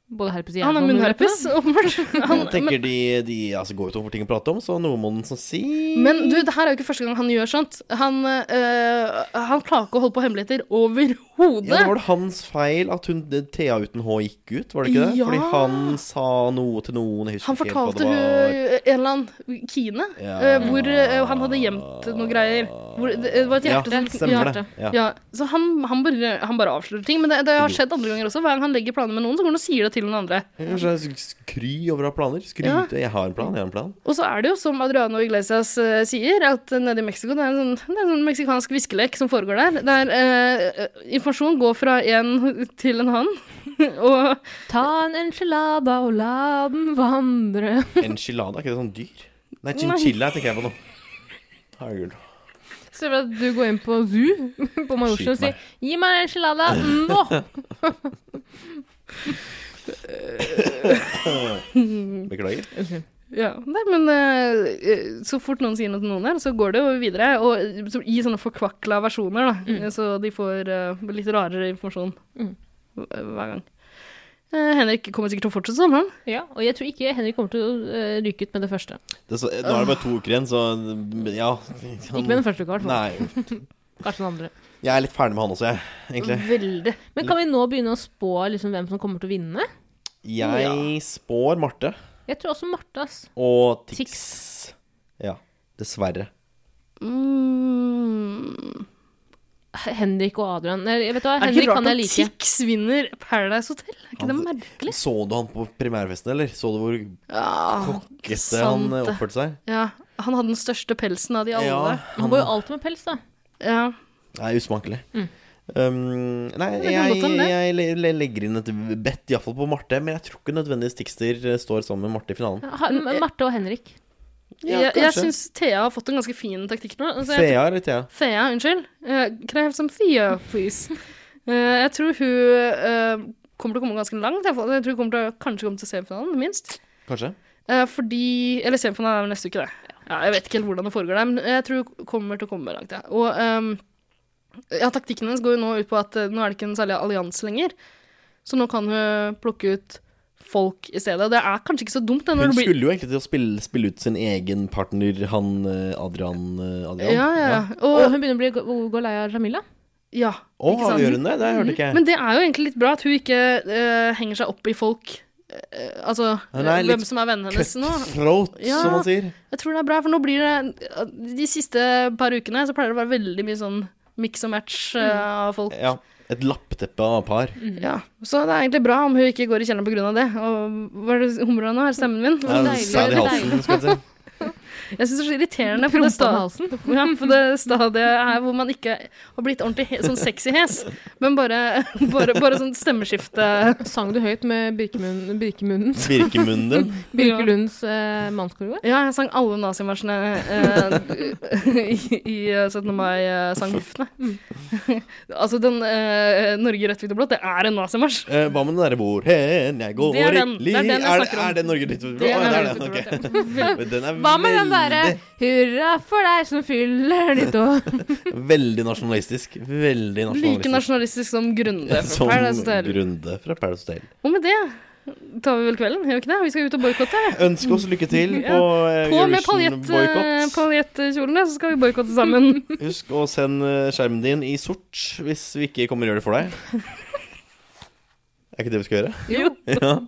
[SPEAKER 5] både herpes i
[SPEAKER 4] Han har
[SPEAKER 5] hjernen og
[SPEAKER 4] munnherpes, åpenbart. Han,
[SPEAKER 3] Jeg tenker de, de altså, går jo tom for ting å prate om, så noe må den så si.
[SPEAKER 4] men du, det her er jo ikke første gang han gjør sånt. Han, eh, han klarer ikke å holde på hemmeligheter
[SPEAKER 3] ja, det
[SPEAKER 4] overhodet.
[SPEAKER 3] var det hans feil at hun, Thea uten H gikk ut, var det ikke det?
[SPEAKER 4] Ja.
[SPEAKER 3] Fordi han sa noe til noen, jeg husker
[SPEAKER 4] Han
[SPEAKER 3] ikke helt hva det
[SPEAKER 4] fortalte hun eh,
[SPEAKER 3] var.
[SPEAKER 4] en eller annen Kine,
[SPEAKER 3] Ja.
[SPEAKER 4] eh, hvor eh, han hadde gjemt noen greier. Hvor, det, det var et hjerte
[SPEAKER 3] ja,
[SPEAKER 4] som
[SPEAKER 3] stemmer det.
[SPEAKER 5] hjerte.
[SPEAKER 3] Ja.
[SPEAKER 4] Ja, så han, han, bare, han bare avslører ting. Men det, det har skjedd andre ganger også. Hver gang han legger planer med noen, så går han og sier det til den andre.
[SPEAKER 3] Kanskje jeg sk- skry over å ha planer.
[SPEAKER 4] Ja.
[SPEAKER 3] Skryte. Jeg har en plan, jeg har en plan.
[SPEAKER 4] Og så er det jo som Adriano Iglesias eh, sier, at nede i Mexico det er en sånn, det er en sånn meksikansk viskelek som foregår der. Der eh, informasjon går fra en til en annen. og
[SPEAKER 5] Ta en enchilada og la den vandre.
[SPEAKER 3] Enchilada, er ikke det sånn dyr? Nei, chinchilla tenker jeg på nå. Herregud.
[SPEAKER 5] Ser du at du går inn på zoo på Majorstua og
[SPEAKER 3] Skyt meg.
[SPEAKER 5] sier 'gi meg en enchilada nå'.
[SPEAKER 3] Beklager.
[SPEAKER 4] Ja, nei, men eh, så fort noen sier noe til noen her, så går det jo videre. Og så- i sånne forkvakla versjoner, da. Så de får eh, litt rarere informasjon
[SPEAKER 5] Mm.
[SPEAKER 4] hver hver gang. Eh, Henrik kommer sikkert til å fortsette sånn, han.
[SPEAKER 5] Ja, og jeg tror ikke Henrik kommer til å eh, ryke ut med det første.
[SPEAKER 3] Det, så, nå er det bare to uker igjen, så men ja.
[SPEAKER 5] Ikke med den første uka, i hvert fall.
[SPEAKER 3] Nei.
[SPEAKER 5] Kanskje den andre.
[SPEAKER 3] Jeg er litt ferdig med han også, jeg. Egentlig.
[SPEAKER 4] Veldig.
[SPEAKER 5] Men kan vi nå begynne å spå liksom, hvem som kommer til å vinne?
[SPEAKER 3] Jeg spår Marte
[SPEAKER 5] Jeg tror også Marte, ass.
[SPEAKER 3] og Tix.
[SPEAKER 5] Tix.
[SPEAKER 3] Ja. Dessverre.
[SPEAKER 4] Mm.
[SPEAKER 5] Henrik og Adrian. Nei, jeg vet hva,
[SPEAKER 4] Er det
[SPEAKER 5] Henrik
[SPEAKER 4] ikke
[SPEAKER 5] kan
[SPEAKER 4] rart
[SPEAKER 5] jeg
[SPEAKER 4] at
[SPEAKER 5] like.
[SPEAKER 4] Tix vinner Paradise Hotel? Er ikke det
[SPEAKER 3] Han-
[SPEAKER 4] merkelig?
[SPEAKER 3] Så du han på primærfesten, eller? Så du hvor
[SPEAKER 4] Ja,
[SPEAKER 3] gette han eh, oppførte seg?
[SPEAKER 4] ja. Han hadde den største pelsen av de alle.
[SPEAKER 3] Ja.
[SPEAKER 4] Ja.
[SPEAKER 5] Han går jo alltid med pels, da.
[SPEAKER 3] Nei, usmakelig. Um, nei,
[SPEAKER 4] Mm. Det kan
[SPEAKER 3] jeg,
[SPEAKER 4] godt hende.
[SPEAKER 3] jeg le- le- legger inn et bet, iallfall på Marte, men jeg tror ikke nødvendigvis Tixter eh, står sammen med Marte i finalen.
[SPEAKER 5] Ha-
[SPEAKER 4] eh,
[SPEAKER 5] M- Marte og Henrik.
[SPEAKER 4] jeg jeg syns Thea har fått en ganske fin taktikk nå. Altså, jeg,
[SPEAKER 3] Thea eller Thea?
[SPEAKER 4] Thea, unnskyld. Eh, can I have some Thea, please? Eh, jeg tror hun eh, kommer til å komme ganske langt. Jeg får- jeg tror hun kommer til å, kanskje komme til semifinalen, minst.
[SPEAKER 3] Kanskje?
[SPEAKER 4] Eh, fordi Eller semifinalen er vel neste uke, det. Ja, jeg vet ikke helt hvordan det foregår der, men jeg tror hun kommer til å komme langt, ja. Og ehm, ja, taktikken hennes går jo nå ut på at eh, nå er det ikke en særlig allianse lenger. Så nå kan hun plukke ut folk i stedet. Og det er kanskje ikke så dumt, det, når
[SPEAKER 3] Hun
[SPEAKER 4] det blir
[SPEAKER 3] skulle jo egentlig til å spille, spille ut sin egen partner, han eh, Adrian. eh, Adrian.
[SPEAKER 4] Ja, ja, ja.
[SPEAKER 5] Og
[SPEAKER 4] Og,
[SPEAKER 5] hun begynner å bli gå gå lei av Jamila.
[SPEAKER 4] ja.
[SPEAKER 3] Å,
[SPEAKER 4] Ikke sant?
[SPEAKER 3] gjør hun det? Det hørte ikke jeg.
[SPEAKER 4] Men det er jo egentlig litt bra at hun ikke eh, henger seg opp i folk. eh, altså
[SPEAKER 3] Hun er
[SPEAKER 4] eh,
[SPEAKER 3] litt
[SPEAKER 4] hvem som er vennene hennes nå.
[SPEAKER 3] Cutthroat,
[SPEAKER 4] Ja.
[SPEAKER 3] som man sier.
[SPEAKER 4] Jeg tror det er bra, for nå blir det eh, De siste par ukene så pleier det å være veldig mye sånn mix og match eh, av folk.
[SPEAKER 3] Ja. Et lappeteppe av par.
[SPEAKER 4] Ja. Så det er egentlig bra om hun ikke går i kjelleren på grunn av det. Og hva er det humra nå? Er det stemmen min?
[SPEAKER 3] Ja,
[SPEAKER 5] deilig,
[SPEAKER 3] Sæd i
[SPEAKER 5] det er
[SPEAKER 3] halsen, skal jeg si.
[SPEAKER 4] Jeg syns det er så irriterende. For det,
[SPEAKER 5] Prompa med
[SPEAKER 4] sta-
[SPEAKER 5] halsen.
[SPEAKER 4] ja, for det stadiet her hvor man ikke har blitt ordentlig he sånn sexy hes, men bare, bare, bare sånn stemmeskifte.
[SPEAKER 5] Sang du høyt med Birkemun- Birkemunnens
[SPEAKER 3] Birkemunnen din.
[SPEAKER 5] Birkelunds eh, mannskorgård?
[SPEAKER 4] Ja, jeg sang alle nazimarsjene eh, i, i eh, 17. mai-sangbuffene. altså, den eh, Norge rødt, hvitt og blått, det er en nazimarsj.
[SPEAKER 3] Eh, Hva med den derre hvor hen jeg går
[SPEAKER 4] Det er den.
[SPEAKER 3] i
[SPEAKER 4] Det er den jeg
[SPEAKER 3] er,
[SPEAKER 4] snakker om.
[SPEAKER 3] er det Norge ditt
[SPEAKER 4] Det er
[SPEAKER 3] det
[SPEAKER 4] Norge
[SPEAKER 3] den,
[SPEAKER 4] rødt, hvitt og
[SPEAKER 3] ok.
[SPEAKER 4] blått, ja.
[SPEAKER 3] Den er
[SPEAKER 5] Hva med den derre
[SPEAKER 3] veldig,
[SPEAKER 5] 'Hurra for deg som fyller ditt år'?
[SPEAKER 3] veldig nasjonalistisk. Veldig
[SPEAKER 4] Like
[SPEAKER 3] nasjonalistisk.
[SPEAKER 4] nasjonalistisk som Grunde.
[SPEAKER 3] liksom. Som
[SPEAKER 4] Som Grunde.
[SPEAKER 3] Grunde fra Paradise Hotel.
[SPEAKER 4] Og med det tar vi vel kvelden, gjør vi ikke det? Vi skal ut og boikotte.
[SPEAKER 3] Ønske oss lykke til
[SPEAKER 4] Ja.
[SPEAKER 3] på eh,
[SPEAKER 4] På med eh,
[SPEAKER 3] Eurovision-boikott.
[SPEAKER 4] paljettkjolene, så skal vi boikotte sammen.
[SPEAKER 3] Husk å sende eh, skjermen din i sort hvis vi ikke kommer og gjør det for deg. Er ikke det vi skal gjøre?
[SPEAKER 4] jo.
[SPEAKER 3] Ja.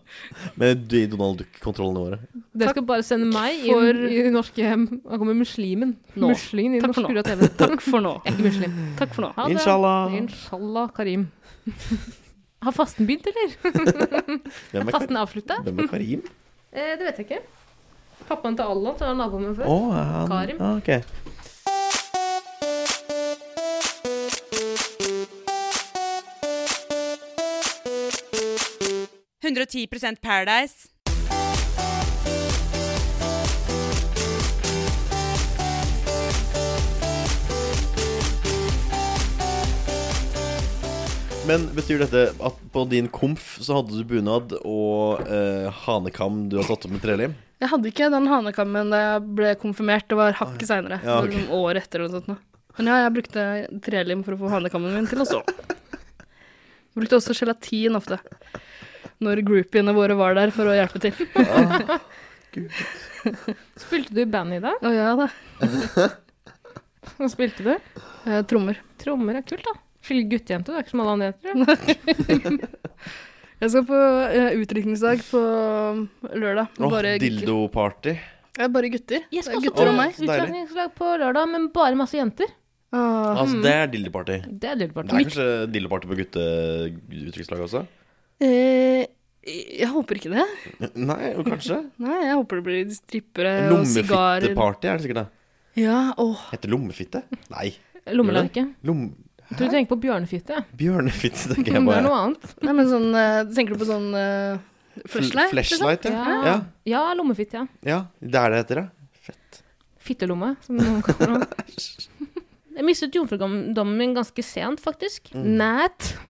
[SPEAKER 3] Med de Donald Duck-kontrollene våre.
[SPEAKER 5] Dere skal bare sende meg i,
[SPEAKER 4] for-
[SPEAKER 5] i det norske hjem. Han kommer muslimen.
[SPEAKER 4] Nå.
[SPEAKER 5] Muslingen i
[SPEAKER 4] Takk for
[SPEAKER 5] norsk
[SPEAKER 4] nå.
[SPEAKER 5] Ura TV. Jeg
[SPEAKER 4] Takk for nå.
[SPEAKER 5] er ikke muslim.
[SPEAKER 4] Takk for nå.
[SPEAKER 5] Ha det.
[SPEAKER 3] Inshallah.
[SPEAKER 5] Inshallah, Karim. Har fasten begynt, eller?
[SPEAKER 3] Hvem
[SPEAKER 5] Er
[SPEAKER 3] er, Kar
[SPEAKER 5] fasten avslutta?
[SPEAKER 3] Hvem er Karim?
[SPEAKER 5] Eh, det vet jeg ikke. Pappaen til Allan, som var naboen min
[SPEAKER 3] Å,
[SPEAKER 5] før.
[SPEAKER 3] er han
[SPEAKER 5] Karim.
[SPEAKER 3] Ah, ok.
[SPEAKER 7] Paradise.
[SPEAKER 3] Men betyr dette at på din komf så hadde du bunad og eh, hanekam du har tatt opp med trelim?
[SPEAKER 4] Jeg hadde ikke den hanekammen da jeg ble konfirmert. Det var hakket seinere.
[SPEAKER 3] Ja, ok.
[SPEAKER 4] År etter eller noe sånt. nå. Men ja, jeg brukte trelim for å få hanekammen min til å stå. Jeg brukte også gelatin ofte. Når groupiene våre var der for å hjelpe til.
[SPEAKER 5] Spilte du i band i dag?
[SPEAKER 4] Å ja da.
[SPEAKER 5] Hva spilte du?
[SPEAKER 4] Eh, Trommer.
[SPEAKER 5] Trommer er kult, da. Skille guttejente, du er ikke som alle andre jenter. du.
[SPEAKER 4] Jeg skal på eh, utdrikningsdag på um, lørdag.
[SPEAKER 3] Åh,
[SPEAKER 4] Bare gutter.
[SPEAKER 3] dildoparty.
[SPEAKER 4] Eh, Bare gutter.
[SPEAKER 5] Jeg
[SPEAKER 4] Det
[SPEAKER 5] skal
[SPEAKER 4] er
[SPEAKER 5] også
[SPEAKER 4] gutter og
[SPEAKER 5] på
[SPEAKER 4] meg.
[SPEAKER 3] Så deilig.
[SPEAKER 5] utdanningslag på lørdag, men bare masse jenter.
[SPEAKER 4] Åh.
[SPEAKER 3] Altså, det er dildoparty.
[SPEAKER 5] Det er lurt,
[SPEAKER 3] Det er
[SPEAKER 5] Barton.
[SPEAKER 3] kanskje dildoparty på gutteuttrykkslaget også?
[SPEAKER 4] Eh, jeg håper ikke det.
[SPEAKER 3] Nei, jo, kanskje.
[SPEAKER 4] Nei, jeg håper det blir strippere Eh, og sigarer.
[SPEAKER 3] Lommefitteparty er det sikkert det.
[SPEAKER 4] Ja, åh.
[SPEAKER 3] Heter det lommefitte? Nei.
[SPEAKER 5] Lommelerke.
[SPEAKER 3] Lom...
[SPEAKER 5] Jeg tror du tenker på bjørnefitte. ja.
[SPEAKER 3] Bjørnefitte, tenker
[SPEAKER 5] Det
[SPEAKER 3] jeg
[SPEAKER 5] er
[SPEAKER 3] bare.
[SPEAKER 5] noe annet.
[SPEAKER 4] Nei, men sånn eh, Tenker du på sånn eh, flashlight? liksom?
[SPEAKER 3] Flashlight, ja.
[SPEAKER 5] Ja, ja lommefitte, ja.
[SPEAKER 3] ja. Det er det heter, ja. Fett.
[SPEAKER 5] Fittelomme, som noen
[SPEAKER 3] Mm.
[SPEAKER 5] kaller det. Jeg mistet jomfrudommen min ganske sent, faktisk. Næt.